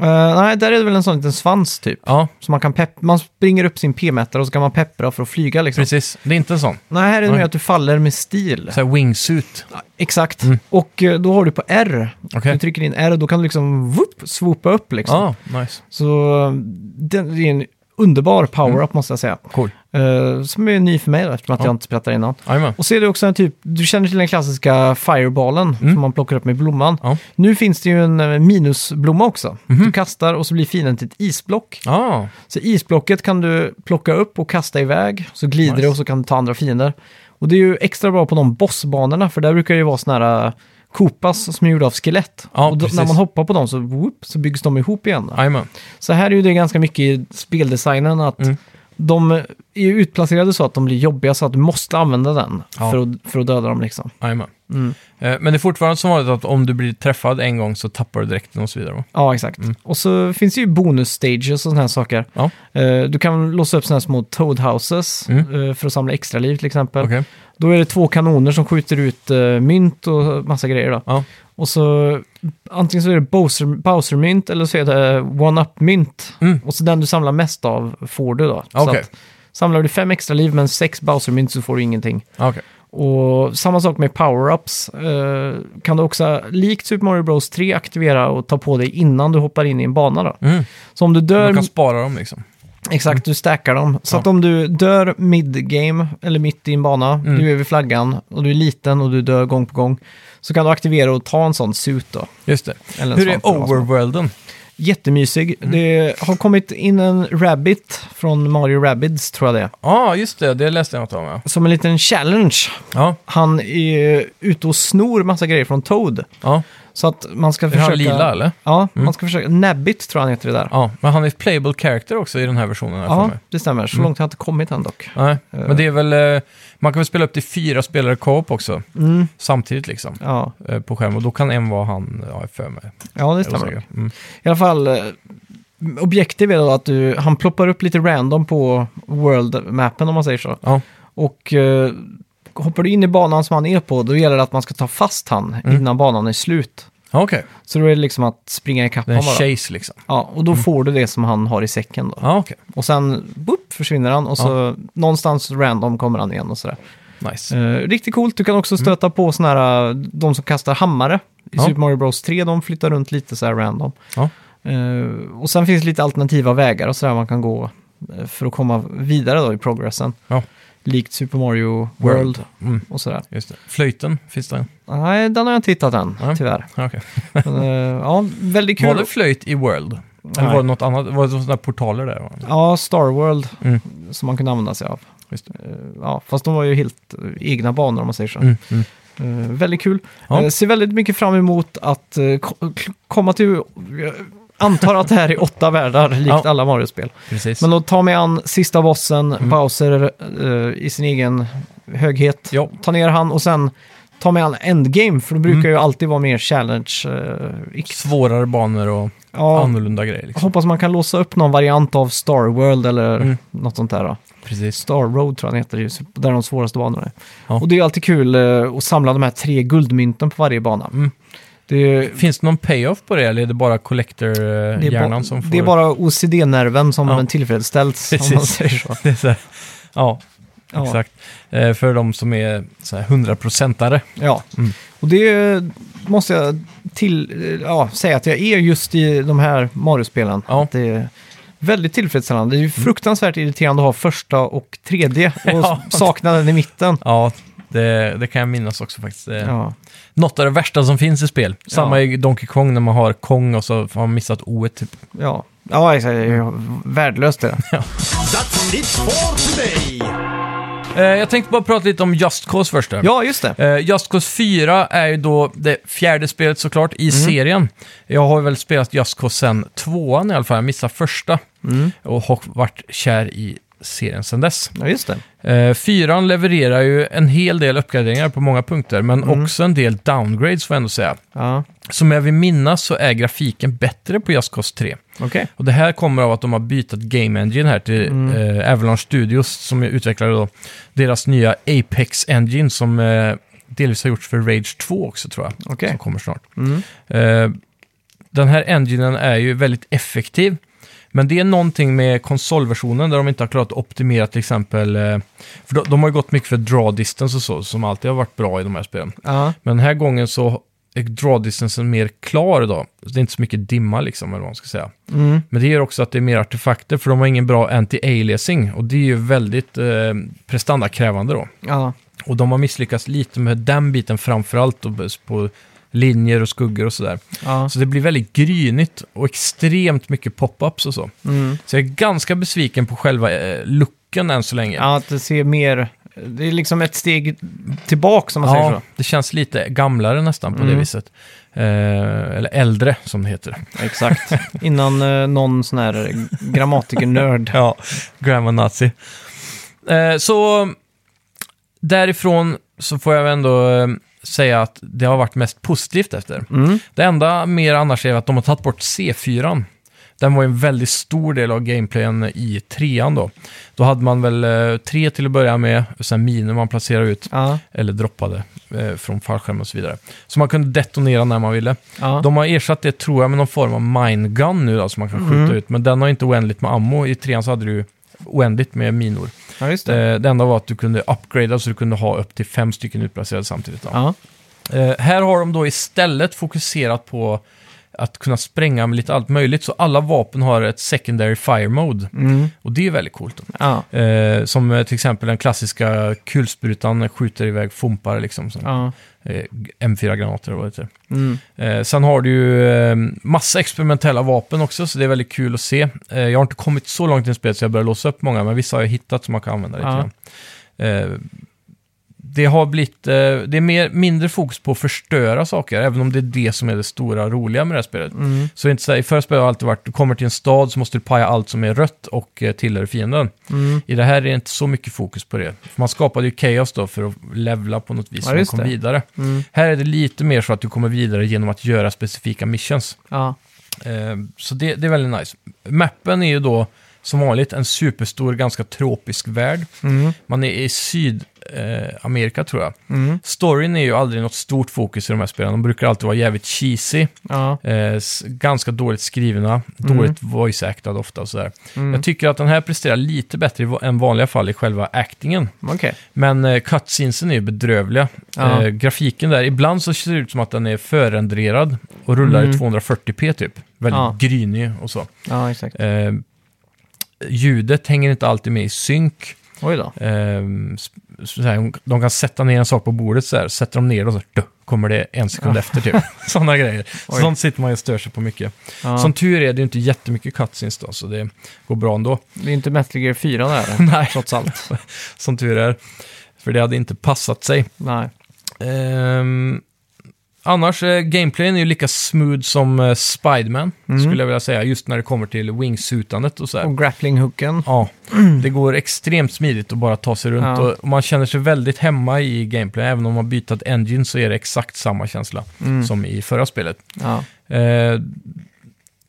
Eh, nej, där är det väl en sån liten svans typ.
Ja,
Så man kan pepp- man springer upp sin p-mätare och så kan man peppra för att flyga liksom.
precis. Det är inte en sån.
Nej, här är det mer
Nej.
att du faller med stil.
Så här wingsuit.
Exakt.
Mm.
Och eh, då har du på R.
Okej. Ah.
Du trycker in R och då kan du liksom whoop, swoopa upp liksom.
Ja, nice.
Så eh, den det är en underbar power-up
Mm.
måste jag säga.
Cool.
Eh, som är ny för mig då, eftersom att
Ja.
jag inte spelade innan.
Jajamän.
Och så är det också en typ, du känner till den klassiska fireballen som man plockar upp med blomman.
Mm. Ja. Mhm.
Nu finns det ju en eh, minusblomma också. Du kastar och så blir fienden till ett isblock.
Ja,
Så isblocket kan du plocka upp och kasta iväg, så glider
Nice.
det och så kan du ta andra fiender. Och det är ju extra bra på de bossbanorna, för där brukar det ju vara sådana här kopas som är gjorda av skelett.
Ja,
och då, när
precis.
man hoppar på dem så, whoop, så byggs de ihop igen. Då.
jajamän.
Så här är ju det ganska mycket i speldesignen att
Mm.
de är ju utplacerade så att de blir jobbiga så att du måste använda den
Ja.
för, att, för att döda dem liksom.
Jajamän.
Mm.
Eh, Men det är fortfarande som vanligt att om du blir träffad en gång så tappar du dräkten och så vidare. va?
Ja, exakt.
Mm.
Och så finns det ju bonus-stages och sådana här saker.
Ja.
Eh, Du kan låsa upp sådana här små toadhouses
Mm.
eh, för att samla extra liv till exempel.
Okej.
Då är det två kanoner som skjuter ut eh, mynt och massa grejer då.
Ja.
Och så antingen så är det Bowser- Bowser-mynt eller så är det One-Up-mynt.
Mm.
Och så den du samlar mest av får du då. Så
Okej.
att, samlar du fem extra liv men sex Bowser-mynt så får du ingenting.
Okej.
Och samma sak med power-ups. Eh, kan du också, likt Super Mario Bros 3, aktivera och ta på dig innan du hoppar in i en bana då.
Mm.
Så om du dör...
Man kan spara dem liksom.
Exakt, du stackar dem. Så
Ja.
att om du dör mid-game, eller mitt i en bana,
Mm.
du är vid flaggan och du är liten och du dör gång på gång, så kan du aktivera och ta en sån suit då.
Just det.
Eller en
Hur
sån
är
för vad som-
overworlden?
Jättemysig.
Mm.
Det har kommit in en rabbit från Mario Rabbids, tror jag det är.
Ja, just det. Det läste jag något om. Ja,
Som en liten challenge.
ja.
Han är ute och snor massa grejer från Toad.
ja.
Så att man ska
Är
försöka...
han lila eller? Mm.
Ja, man ska försöka... Nabbit tror jag han heter det där. Ja,
Ja, men han är ett playable character också i den här versionen. Här för mig.
det stämmer.
Mm.
Så långt har jag inte kommit än dock.
Nej, men det är väl... eh, Man kan väl spela upp till fyra spelare co-op också. Samtidigt liksom.
Mm. Ja,
eh, På skärmen. Och då kan en vara han, ja, för mig. Jag
ja det
är
stämmer.
osäker. Mm.
I alla fall, eh, objektiv är då att du, han ploppar upp lite random på world-mappen om man säger så.
Ja.
Och eh, hoppar du in i banan som han är på, då gäller det att man ska ta fast han
Mm.
innan banan är slut.
Okej,
Så då är det liksom att springa ikapp
det är en
honom bara.
chase liksom.
Ja, och då får du det som han har i säcken då.
Ja, okej.
Och sen, boop, försvinner han och så någonstans random kommer han igen och sådär.
Nice.
Eh, riktigt coolt, du kan också stöta på såna här, eh, de som kastar hammare. I
Mm. Ja.
Super Mario Bros 3, de flyttar runt lite så här random.
Ja.
Eh, och sen finns det lite alternativa vägar och sådär man kan gå eh, för att komma vidare då i progressen.
Ja.
Likt Super Mario World
Mm,
och sådär.
just det. Flöjten, finns det en?
Nej, den har jag inte hittat än,
Nej.
tyvärr.
Ja, okej.
Men, eh, ja, väldigt
Var
kul.
det flöjt i World? Eller
Nej. Mm,
var det något annat? Var det sådana portaler där? va?
Ja, Star World
Mm.
som man kunde använda sig av.
Just det.
Eh, Ja, fast de var ju helt eh, egna banor om man säger så.
Mm, mm.
Eh, väldigt kul.
Ja.
Eh, ser väldigt mycket fram emot att eh, ko- k- komma till... Jag antar att det här är åtta världar, likt
Ja.
alla Mario-spel.
Precis.
Men då ta mig an sista bossen,
Mm.
Bowser, eh, i sin egen höghet.
Ja.
Ta ner han och sen ta mig an Endgame, för det brukar
Mm.
ju alltid vara mer challenge. eh, ikt.
Svårare banor och
ja,
annorlunda grejer. Liksom.
hoppas man kan låsa upp någon variant av Star World eller
Mm.
något sånt där. Då.
Precis.
Star Road tror jag den heter, det är ju där de svåraste banorna är.
Ja.
Och det är alltid kul eh, att samla de här tre guldmynten på varje bana.
Mm.
Det är,
Finns det någon payoff på det eller är det bara
det är,
collector-hjärnan
ba-
som får...
det är bara OCD-nerven som
Ja.
den tillfredsställs, om man
Precis.
säger så.
Det är så här. Ja,
Ja.
exakt. Eh, för de som är så här 100-procentare.
Ja.
Mm.
Och det eh, måste jag till, eh, ja, säga att jag är just i de här Mario-spelen.
Ja. Mm.
Att det är väldigt tillfredsställande. Det är ju fruktansvärt irriterande att ha första och tredje och
Ja.
sakna den i mitten.
Ja, det, det kan jag minnas också faktiskt. Eh,
Ja.
Något av det värsta som finns i spel. Samma
Ja.
i Donkey Kong när man har Kong och så har man missat O typ.
Ja, ja exakt. Det är ju Värdelöst det.
That's it for today.
Eh, jag tänkte bara prata lite om Just Cause först. då.
Ja, just det.
Eh, Just Cause 4 är ju då det fjärde spelet såklart i serien. Jag har väl spelat Just Cause sen tvåan i alla fall, jag missade första. Och har varit kär i serien sen dess.
Ja, just det.
Eh, fyran levererar ju en hel del uppgraderingar på många punkter, men också en del downgrades får jag ändå säga.
Ja,
Som jag vill minnas så är grafiken bättre på Just Cause 3.
okej.
Och det här kommer av att de har bytt Game Engine här till eh, Avalanche Studios som utvecklade då deras nya Apex Engine som eh, delvis har gjorts för Rage 2 också tror jag.
Okej.
Som kommer snart. Eh, den här enginen är ju väldigt effektiv. Men det är någonting med konsolversionen där de inte har klarat att optimera till exempel... eh, För de, de har ju gått mycket för draw distance och så, som alltid har varit bra i de här spelen.
Ja,
Men den här gången så är draw distansen mer klar då. Så det är inte så mycket dimma liksom, eller vad man ska säga.
mm.
Men det gör också att det är mer artefakter, för de har ingen bra anti-aliasing. Och det är ju väldigt eh, prestandakrävande då.
ja.
Och de har misslyckats lite med den biten framförallt, på linjer och skuggor och sådär.
ja.
Så det blir väldigt grynigt och extremt mycket pop-ups och så.
Mm.
Så jag är ganska besviken på själva eh, looken än så länge.
ja, att det ser mer... Det är liksom ett steg tillbaka, om man säger
Ja,
så.
det känns lite gamlare nästan på det
Mm.
viset. Eh, eller äldre, som det heter.
Exakt. Innan eh, någon sån här grammatikernörd.
Ja, Grandma Nazi. Eh, så därifrån så får jag väl ändå eh, säga att det har varit mest positivt efter.
Mm.
Det enda mer annars är att de har tagit bort C4. Den var ju en väldigt stor del av gameplayen i trean då. Då hade man väl eh, tre till att börja med, och sen miner man placerade ut,
Ja,
eller droppade eh, från fallskärm och så vidare. Så man kunde detonera när man ville.
ja.
De har ersatt det, tror jag, med någon form av minegun nu då, som man kan skjuta
Mm.
ut. Men den har inte oändligt med ammo. I trean så hade du ju oändligt med minor. Eh,
ja just det.
Det, det enda var att du kunde upgrada så du kunde ha upp till fem stycken utplacerade samtidigt. Då.
Ja,
Eh, här har de då istället fokuserat på att kunna spränga med lite allt möjligt. Så alla vapen har ett secondary fire mode.
mm.
Och det är väldigt coolt. Då.
ja.
Eh, som eh, till exempel den klassiska kulsprutan skjuter iväg fumpar liksom. Som,
ja.
eh, M4-granater och vad det heter.
Mm.
Eh, sen har du ju eh, massa experimentella vapen också, så det är väldigt kul att se. Eh, jag har inte kommit så långt i spelet så jag börjar låsa upp många, men vissa har jag hittat som man kan använda lite
Ja.
grann. Eh, det har blivit, eh, det är mer, mindre fokus på att förstöra saker, även om det är det som är det stora roliga med det här spelet.
Mm.
Så det är inte så här, i förra spelet har det alltid varit, du kommer till en stad så måste du paja allt som är rött och eh, tillhör fienden.
Mm.
I det här är det inte så mycket fokus på det. För man skapade ju chaos då för att levla på något vis,
Ja,
så man
just
kom
det.
vidare.
Mm.
Här är det lite mer så att du kommer vidare genom att göra specifika missions.
Ja.
Eh, så det, det är väldigt nice. Mappen är ju då som vanligt en superstor, ganska tropisk värld.
Mm.
Man är i Sydamerika, eh, Amerika, tror jag.
Mm.
Storyn är ju aldrig något stort fokus i de här spelen. De brukar alltid vara jävligt cheesy,
Ja.
eh, s- ganska dåligt skrivna, dåligt voice-actad ofta och sådär.
Mm.
Jag tycker att den här presterar lite bättre i va- än vanliga fall i själva actingen.
Okej.
Men eh, cutscenesen är ju bedrövliga.
Ja.
Eh, grafiken där, ibland så ser det ut som att den är förrenderad och rullar i
Mm.
240p typ. Väldigt
Ja.
grynig och så.
Ja, exakt.
Eh, ljudet hänger inte alltid med i synk.
Oj då.
Eh, s- så här, de kan sätta ner en sak på bordet så här, sätter de ner det och så här, duh, kommer det en sekund efter typ. Sådana grejer.
Oj.
Sånt sitter man ju och stör sig på mycket.
Ja.
Som tur är, det är inte jättemycket cutscenes då, så det går bra ändå.
Det är ju inte Metal Gear 4 där,
Nej.
trots allt.
Som tur är, för det hade inte passat sig.
Nej.
Ehm, annars, eh, gameplayen är ju lika smooth som eh, Spiderman, skulle jag vilja säga, just när det kommer till wingsuitandet och sådär.
Och grapplinghooken.
Ja, det går extremt smidigt att bara ta sig runt
Ja.
och man känner sig väldigt hemma i gameplay. Även om man bytt engine så är det exakt samma känsla som i förra spelet.
Ja.
Eh,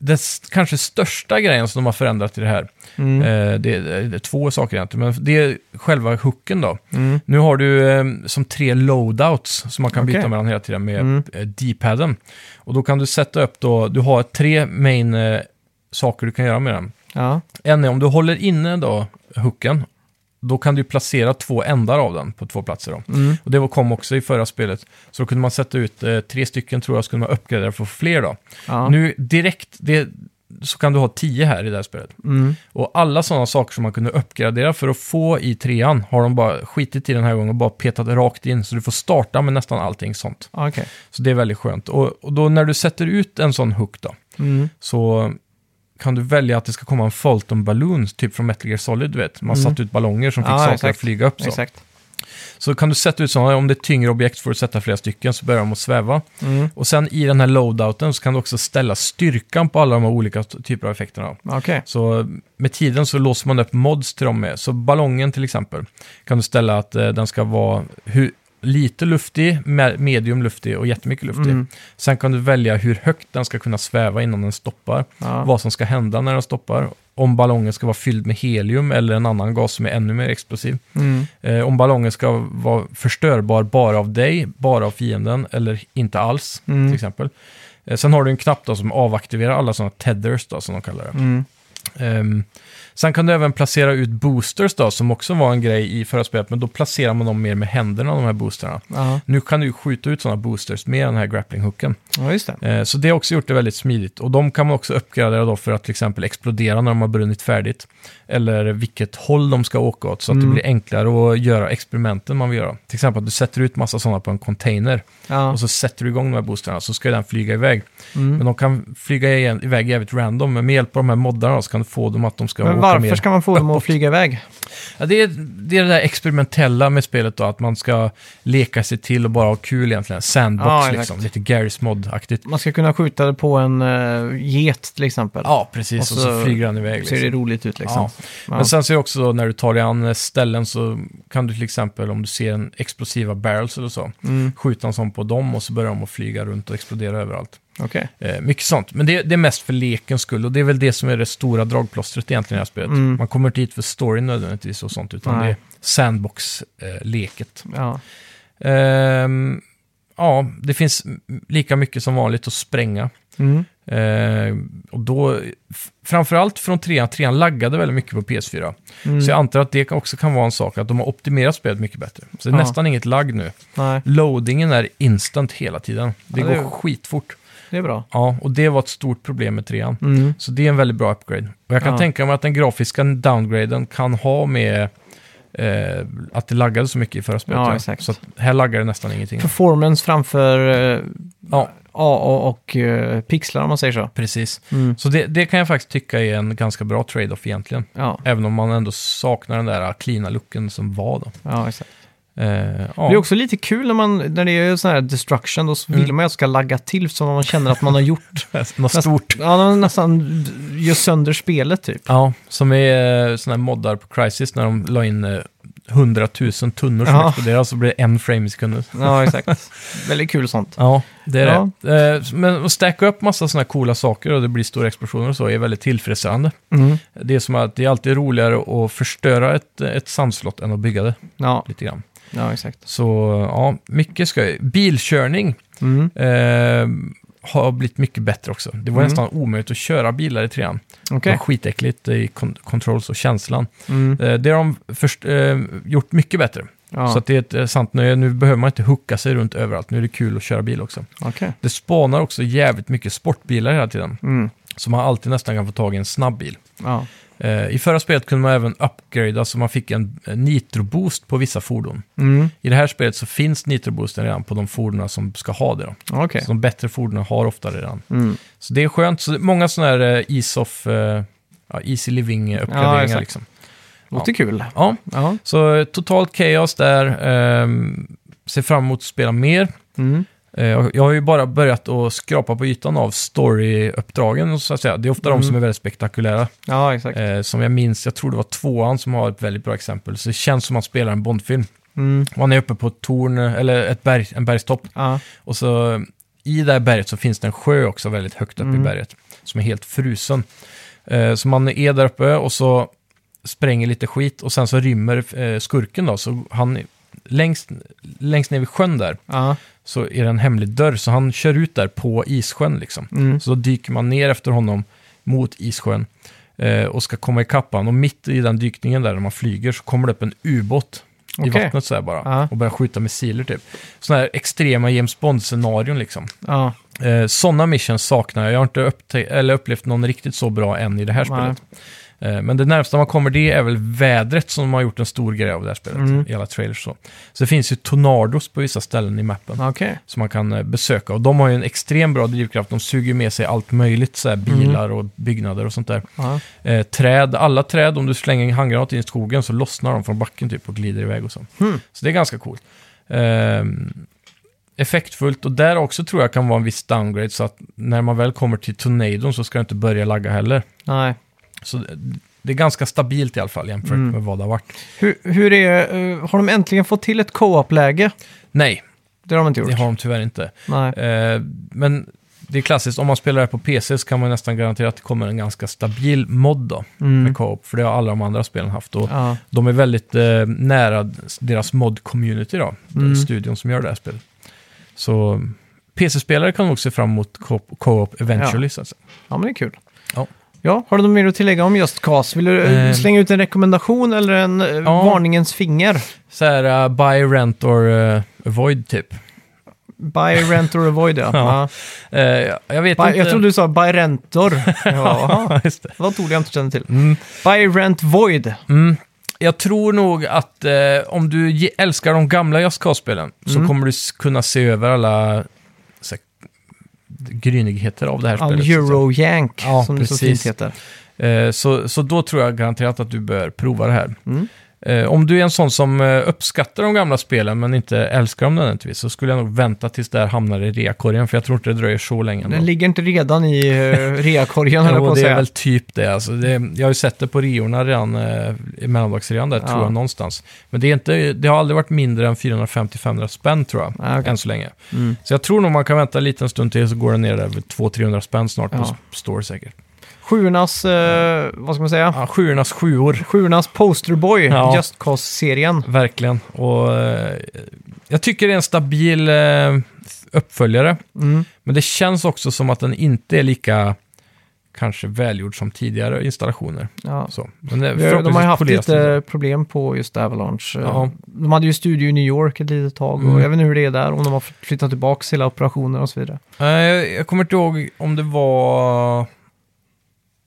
det s- kanske största grejen som de har förändrat i det här,
Mm.
eh, det, är, det är två saker egentligen, men det är själva hooken då.
Mm.
Nu har du eh, som tre loadouts som man kan
Okej.
byta mellan hela tiden med
Mm.
eh, D-paden. Och då kan du sätta upp då, du har tre main eh, saker du kan göra med den.
Ja.
En är om du håller inne då hooken, då kan du placera två ändar av den på två platser. Då.
Mm.
Och det var- kom också i förra spelet. Så då kunde man sätta ut eh, tre stycken, tror jag, så kunde man uppgradera för fler då.
Ja.
Nu direkt, det, så kan du ha tio här i det här spelet.
Mm.
Och alla sådana saker som man kunde uppgradera för att få i trean har de bara skitit i den här gången och bara petat rakt in. Så du får starta med nästan allting sånt.
Ja, Okej.
Så det är väldigt skönt. Och, och då när du sätter ut en sån hook då,
Mm.
så kan du välja att det ska komma en Fulton Balloon, typ från Metal Gear Solid, du vet. Man
Mm.
satte ut ballonger som fick
Ja,
saker
exakt.
att flyga upp. Så.
Exakt.
så kan du sätta ut sådana, om det är tyngre objekt får du sätta flera stycken, så börjar de att sväva.
Mm.
Och sen i den här loadouten så kan du också ställa styrkan på alla de här olika t- typer av effekterna.
Okej.
Så med tiden så låser man upp mods till dem med. Så ballongen till exempel kan du ställa att eh, den ska vara hur, lite luftig, me- medium luftig och jättemycket luftig.
Mm.
Sen kan du välja hur högt den ska kunna sväva innan den stoppar.
Ja.
Vad som ska hända när den stoppar. Om ballongen ska vara fylld med helium eller en annan gas som är ännu mer explosiv.
Mm.
Eh, om ballongen ska vara förstörbar bara av dig, bara av fienden eller inte alls
Mm.
till exempel. Eh, sen har du en knapp då som avaktiverar alla sådana tethers då, som de kallar det.
Mm.
Ehm, sen kan du även placera ut boosters då, som också var en grej i förra spelet, men då placerar man dem mer med händerna, de här boosterna.
Ja.
Nu kan du ju skjuta ut sådana boosters med den här grapplinghucken.
ja, just det.
Eh, så det har också gjort det väldigt smidigt. Och de kan man också uppgradera då för att till exempel explodera när de har brunnit färdigt. Eller vilket håll de ska åka åt, så att det
Mm.
blir enklare att göra experimenten man vill göra. Till exempel att du sätter ut massa sådana på en container
Ja.
och så sätter du igång de här boosterna, så ska den flyga iväg.
Mm.
Men de kan flyga igen- iväg jävligt random, men med hjälp av de här moddarna så kan du få dem att de ska
Men
åka
varför
mer.
ska man få dem att flyga iväg?
Ja, det, är, det är det där experimentella med spelet då, att man ska leka sig till och bara ha kul egentligen. Sandbox
Ja, exakt.
liksom, lite Garry's Mod-aktigt.
Man ska kunna skjuta det på en uh, get till exempel.
Ja, precis. Och
Och
så,
så
flyger den iväg.
Ser
Liksom.
det roligt ut liksom.
Ja.
Ja.
Men sen ser jag också då, när du tar dig an eh, ställen så kan du till exempel om du ser en explosiva barrels eller så,
Mm.
skjuta en sån på dem och så börjar de att flyga runt och explodera överallt.
Okej.
Eh, mycket sånt. Men det, det är mest för lekens skull och det är väl det som är det stora dragplåstret egentligen i det här spelet.
Mm.
Man kommer inte hit för storyn nödvändigtvis och sånt, utan
Nej.
det är sandbox-leket.
Ja.
Ehm, ja, det finns m- lika mycket som vanligt att spränga.
Mm.
Ehm, och då, f- framförallt från trean, trean laggade väldigt mycket på PS4.
Mm.
Så jag antar att det kan- också kan vara en sak, att de har optimerat spelet mycket bättre. Så det är
Ja.
nästan inget lagg nu.
Nej,
Loadingen är instant hela tiden. Det
Ja,
går
det är-
skitfort.
det är bra.
Ja, och det var ett stort problem med trean.
Mm.
Så det är en väldigt bra upgrade. Och jag kan
Ja.
tänka mig att den grafiska downgraden kan ha med eh, att det laggade så mycket i förra spelet.
Ja,
tror jag.
exakt.
Så att här laggar det nästan ingenting.
Performance framför eh,
Ja,
AA och eh, pixlar om man säger så.
precis.
Mm.
Så det, det kan jag faktiskt tycka är en ganska bra trade-off egentligen.
Ja,
Även om man ändå saknar den där cleana looken som var då.
ja, exakt.
Eh,
Det är
ja.
också lite kul när, man, när det är sån här destruction, då så vill
Mm.
man ju att det ska lagga till som man känner att man har gjort.
Något stort.
Ja, man nästan gör sönder spelet typ.
Ja, som är eh, såna här moddar på Crisis när de la in eh, hundratusen tunnor som
Ja.
exploderar så blir det en frame i sekunden.
Ja, exakt. Väldigt kul sånt.
Ja, det är
Ja.
det. Eh, Men att stacka upp massa sådana här coola saker och det blir stora explosioner och så är väldigt tillfredsställande.
Mm.
Det är som att det är alltid roligare att förstöra ett, ett sandslott än att bygga det
Ja,
lite grann.
ja, exakt.
Så ja, mycket skoj. Bilkörning
Mm.
eh, har blivit mycket bättre också. Det var
Mm.
nästan omöjligt att köra bilar i trean. Det
Okej.
var skitäckligt i kon- controls och känslan.
Mm.
Eh, det har de först, eh, gjort mycket bättre. Så
Ja,
att det är ett eh, sant nöje. Nu behöver man inte hucka sig runt överallt. Nu är det kul att köra bil också.
okej.
Det spanar också jävligt mycket sportbilar hela tiden.
Mm.
Så man alltid nästan kan få tag i en snabbbil.
Ja,
Eh, I förra spelet kunde man även upgrada så man fick en eh, nitroboost på vissa fordon.
mm.
I det här spelet så finns nitroboosten redan på de fordon som ska ha det. Då.
okej.
Så de bättre fordonen har ofta det redan.
Mm.
Så det är skönt. Så det är många sådana här eh, ease of, eh, ja, easy living-uppgraderingar. Ja,
exakt.
liksom.
Låter kul.
ja.
Ja.
Så eh, totalt kaos där. Ehm, ser fram emot att spela mer.
Mm.
Eh, och Jag har ju bara börjat att skrapa på ytan av story-uppdragen, så att säga. Det är ofta
Mm.
de som är väldigt spektakulära.
Ja, exakt.
Eh, som jag minns, jag tror det var tvåan som har ett väldigt bra exempel. Så det känns som att man spelar en Bondfilm.
Mm.
Man är uppe på ett torn, eh, eller ett berg, en bergstopp.
Ja.
Och så eh, i det här berget så finns det en sjö också väldigt högt upp
Mm.
i berget. Som är helt frusen. Eh, så man är där uppe och så spränger lite skit och sen så rymmer eh, skurken då. Så han, längst, längst ner vid sjön där,
Ja.
så är det en hemlig dörr. Så han kör ut där på issjön liksom.
Mm.
Så då dyker man ner efter honom mot issjön eh, och ska komma ikapp honom. Och mitt i den dykningen där, när man flyger, så kommer det upp en ubåt i
Okej.
vattnet så här bara.
Ja.
Och börjar skjuta missiler typ. Sådana här extrema James Bond-scenarion liksom.
Ja.
Eh, Sådana missions saknar jag. Jag har inte upptä- eller upplevt någon riktigt så bra än i det här
Nej.
spelet. Eh, Men det närmsta man kommer det är väl vädret som de har gjort en stor grej av det här spelet.
Mm.
I alla trailers och så. Så det finns ju tornados på vissa ställen i mappen
Okej.
som man kan eh, besöka. Och de har ju en extrem bra drivkraft. De suger med sig allt möjligt, så här
Mm.
bilar och byggnader och sånt där.
Ja.
Eh, träd, alla träd, om du slänger en handgranat in i skogen så lossnar de från backen typ och glider iväg och så.
Hmm.
Så det är ganska coolt. Ehm, effektfullt och där också tror jag kan vara en viss downgrade så att när man väl kommer till tornadon så ska det inte börja lagga heller.
Nej.
Så det- det är ganska stabilt i alla fall jämfört
Mm.
med vad det har varit.
Hur, hur är... eh, har de äntligen fått till ett co-op-läge?
Nej,
Det har de inte gjort.
det har de tyvärr inte.
Nej.
Eh, men det är klassiskt, om man spelar det här på PC så kan man nästan garantera att det kommer en ganska stabil mod då,
Mm.
med co-op, för det har alla de andra spelen haft. Och
Ja.
De är väldigt eh, nära deras mod-community då,
Mm.
den studion som gör det här spelet. Så PC-spelare kan nog se fram emot co- co-op eventually. Så att säga.
ja, men det är kul.
Ja.
Ja, har du något mer att tillägga om just CAS? Vill du eh,
Eh.
slänga ut en rekommendation eller en eh, varningens finger?
Så här, eh, buy, rent or eh, avoid typ.
Buy, rent or avoid, ja.
Ja.
ja.
Eh, jag vet
Buy,
inte.
jag trodde du sa buy rentor. Ja,
Just det.
det var ett ord jag inte kände till.
Mm.
Buy rent void.
Mm. Jag tror nog att eh, om du ge- älskar de gamla Just Cause-spelen så
Mm.
kommer du s- kunna se över alla så här, grynigheter av det här
All
spelet. så att säga.
Eurojank,
Ja,
som det så
precis.
fint heter.
Eh, så, så då tror jag garanterat att du bör prova det här.
Mm.
Eh, om du är en sån som eh, uppskattar de gamla spelen men inte älskar dem nödvändigtvis så skulle jag nog vänta tills det här hamnar i reakorgen för jag tror inte det dröjer så länge. ändå.
Den ligger inte redan i uh, reakorgen, höll jag på
Jo,
att
det är
säga.
väl typ det. Alltså, det jag har ju sett det på reorna redan, eh, i mellandagsrean där,
Ja.
tror jag, någonstans. Men det, är inte, det har aldrig varit mindre än 450-500 spänn, tror jag,
Ah, okej.
än så länge.
Mm.
Så jag tror nog man kan vänta en liten stund till, så går den ner där vid 200-300 spänn snart
Ja.
på Store säkert.
Sjuornas, eh, vad ska man säga?
Ja, sjuornas sjuor,
Sjuornas posterboy,
Ja.
Just Cause-serien.
verkligen. Och, eh, jag tycker det är en stabil eh, uppföljare,
Mm.
men det känns också som att den inte är lika kanske välgjord som tidigare installationer.
Ja.
Så. Men det,
Vi har- De har ju
förhoppningsvis
haft
poleras den.
lite problem på just Avalanche. Eh,
Ja.
De hade ju studio i New York ett litet tag och
Mm.
jag vet inte hur det är där, om de har flyttat tillbaka hela operationer och så vidare.
Nej, Eh, jag- jag kommer inte ihåg om det var...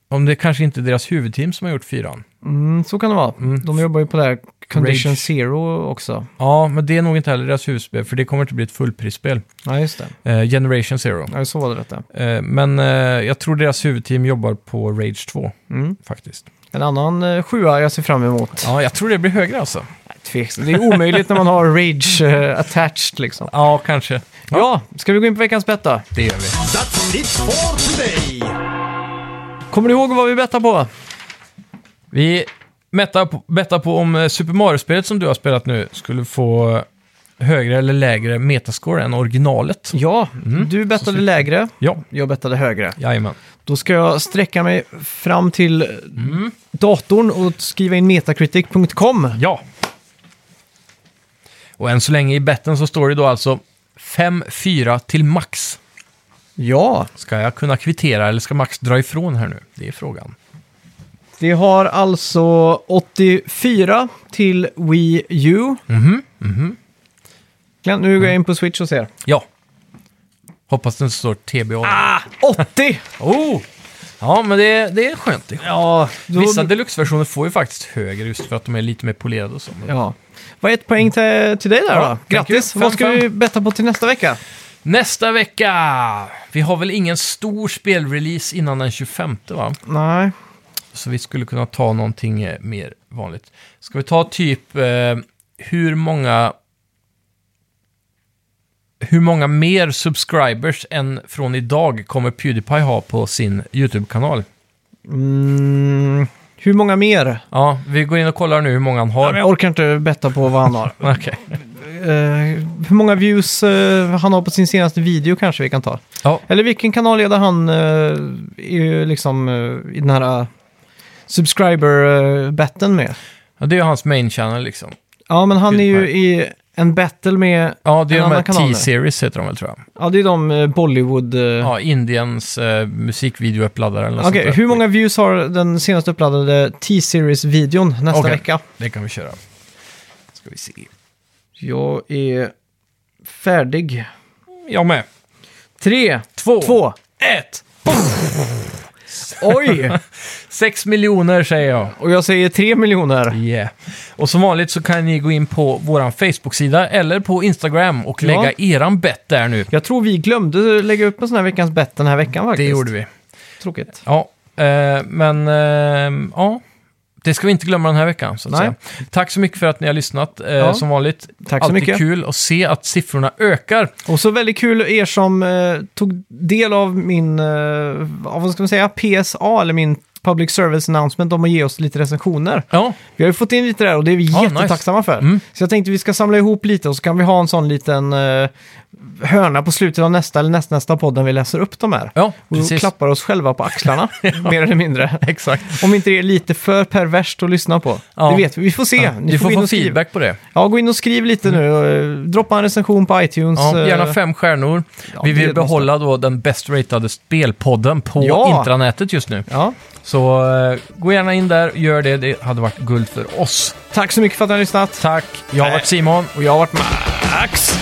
Om det kanske inte är deras huvudteam som har gjort fyran.
Mm, så kan det vara.
Mm.
De jobbar ju på det här Condition
Rage.
Zero också.
Ja, men det är nog inte heller deras huvudspel, för det kommer inte bli ett fullprisspel.
Ja, just det.
Eh, Generation Zero.
Ja, så var det detta.
Eh, men eh, jag tror deras huvudteam jobbar på Rage 2,
Mm.
faktiskt.
En annan eh, sjua jag ser fram emot.
Ja, jag tror det blir högre alltså.
Tveksamt. Det är omöjligt när man har Rage eh, attached liksom.
Ja, kanske. Ja,
Ja, ska vi gå in på veckans bett då?
det gör vi.
That's it for today.
Kommer du ihåg vad vi bettade på?
Vi betta på, betta på om eh, Super Mario-spelet som du har spelat nu skulle få högre eller lägre metascore än originalet.
Ja, Mm. du bettade lägre,
Ja,
jag bettade högre.
jajamän.
Då ska jag sträcka mig fram till eh, datorn och skriva in metacritic.com.
Ja. Och än så länge i betten så står det då alltså 5-4 till max.
Ja,
Ska jag kunna kvittera eller ska Max dra ifrån här nu? Det är frågan.
det har alltså 84 till Wii U. Mhm, Glenn, nu går jag in på Switch och ser.
Ja. Hoppas det inte står TBA.
Ah, 80!
Oh! Ja, men det, det är skönt. Det är skönt.
ja, då...
Vissa deluxe-versioner får ju faktiskt högre just för att de är lite mer polerade och så. Men-
Ja. Vad är ett poäng till, till dig där
Ja,
då?
thank
Grattis!
you.
Vad ska
Fem, fem.
vi betta på till nästa vecka?
Nästa vecka! Vi har väl ingen stor spelrelease innan den 25 va?
Nej.
Så vi skulle kunna ta någonting eh, mer vanligt. Ska vi ta typ eh, hur många... Hur många mer subscribers än från idag kommer Pewdiepie ha på sin YouTube-kanal?
Mm, hur många mer?
Ja, vi går in och kollar nu hur många han
Ja, men
har.
Jag orkar inte betta på vad han har.
Okej.
Eh, hur många views eh, han har på sin senaste video kanske vi kan ta.
Ja.
Eller vilken kanal leder han eh, i, eh, liksom, eh, i den här subscriber-batten med?
ja, det är ju hans main channel liksom.
Ja, men han är ju
Pewdiepie.
i en battle med,
Ja, det är
En
de här
annan kanal nu.
T-series heter de väl tror jag.
ja det är de eh, Bollywood... eh,
Ja, Indiens eh, musikvideouppladare eller något
Okej,
sånt där.
hur många views har den senast uppladdade T-series-videon nästa
Okej.
vecka?
Det kan vi köra. Ska vi se.
Jag är färdig.
Jag med.
Tre,
Två.
två,
Ett!
oj!
Sex miljoner säger jag.
Och jag säger tre miljoner.
Yeah. Och som vanligt så kan ni gå in på vår Facebook-sida eller på Instagram och
Ja.
lägga eran bet där nu.
Jag tror vi glömde lägga upp en sån här veckans bett den här veckan
Det
faktiskt.
gjorde vi.
Tråkigt.
Ja, eh, men eh, ja. Det ska vi inte glömma den här veckan. Så att
Nej.
säga. Tack så mycket för att ni har lyssnat. Eh,
Ja.
Som vanligt.
Tack så
Alltid
mycket.
kul att se att siffrorna ökar.
Och så väldigt kul er som eh, tog del av min, eh, ja, vad ska man säga, PSA eller min Public Service Announcement om att ge oss lite recensioner.
Ja,
Vi har ju fått in lite där och det är vi
Ja,
jättetacksamma för.
Mm.
Så jag tänkte vi ska samla ihop lite och så kan vi ha en sån liten eh, hörna på slutet av nästa eller nästnästa podd när vi läser upp de här.
ja
Och
precis.
klappar oss själva på axlarna, mer eller mindre.
Exakt.
Om inte det är lite för perverst att lyssna på.
Ja.
Det vet vi, vi får se. Ni
Ni
får
får
gå in
få
och skriva.
feedback på det.
Ja, gå in och skriv lite nu. och, eh, Droppa en recension på iTunes.
Ja,
eh,
gärna fem stjärnor.
ja,
vi
det
vill
måste-
behålla då den bäst ratade spelpodden på
Ja.
intranätet just nu.
Ja.
Så eh, gå gärna in där, gör det. Det hade varit guld för oss.
Tack så mycket för att ni har lyssnat.
Tack, jag har varit Simon.
Och jag har varit Max.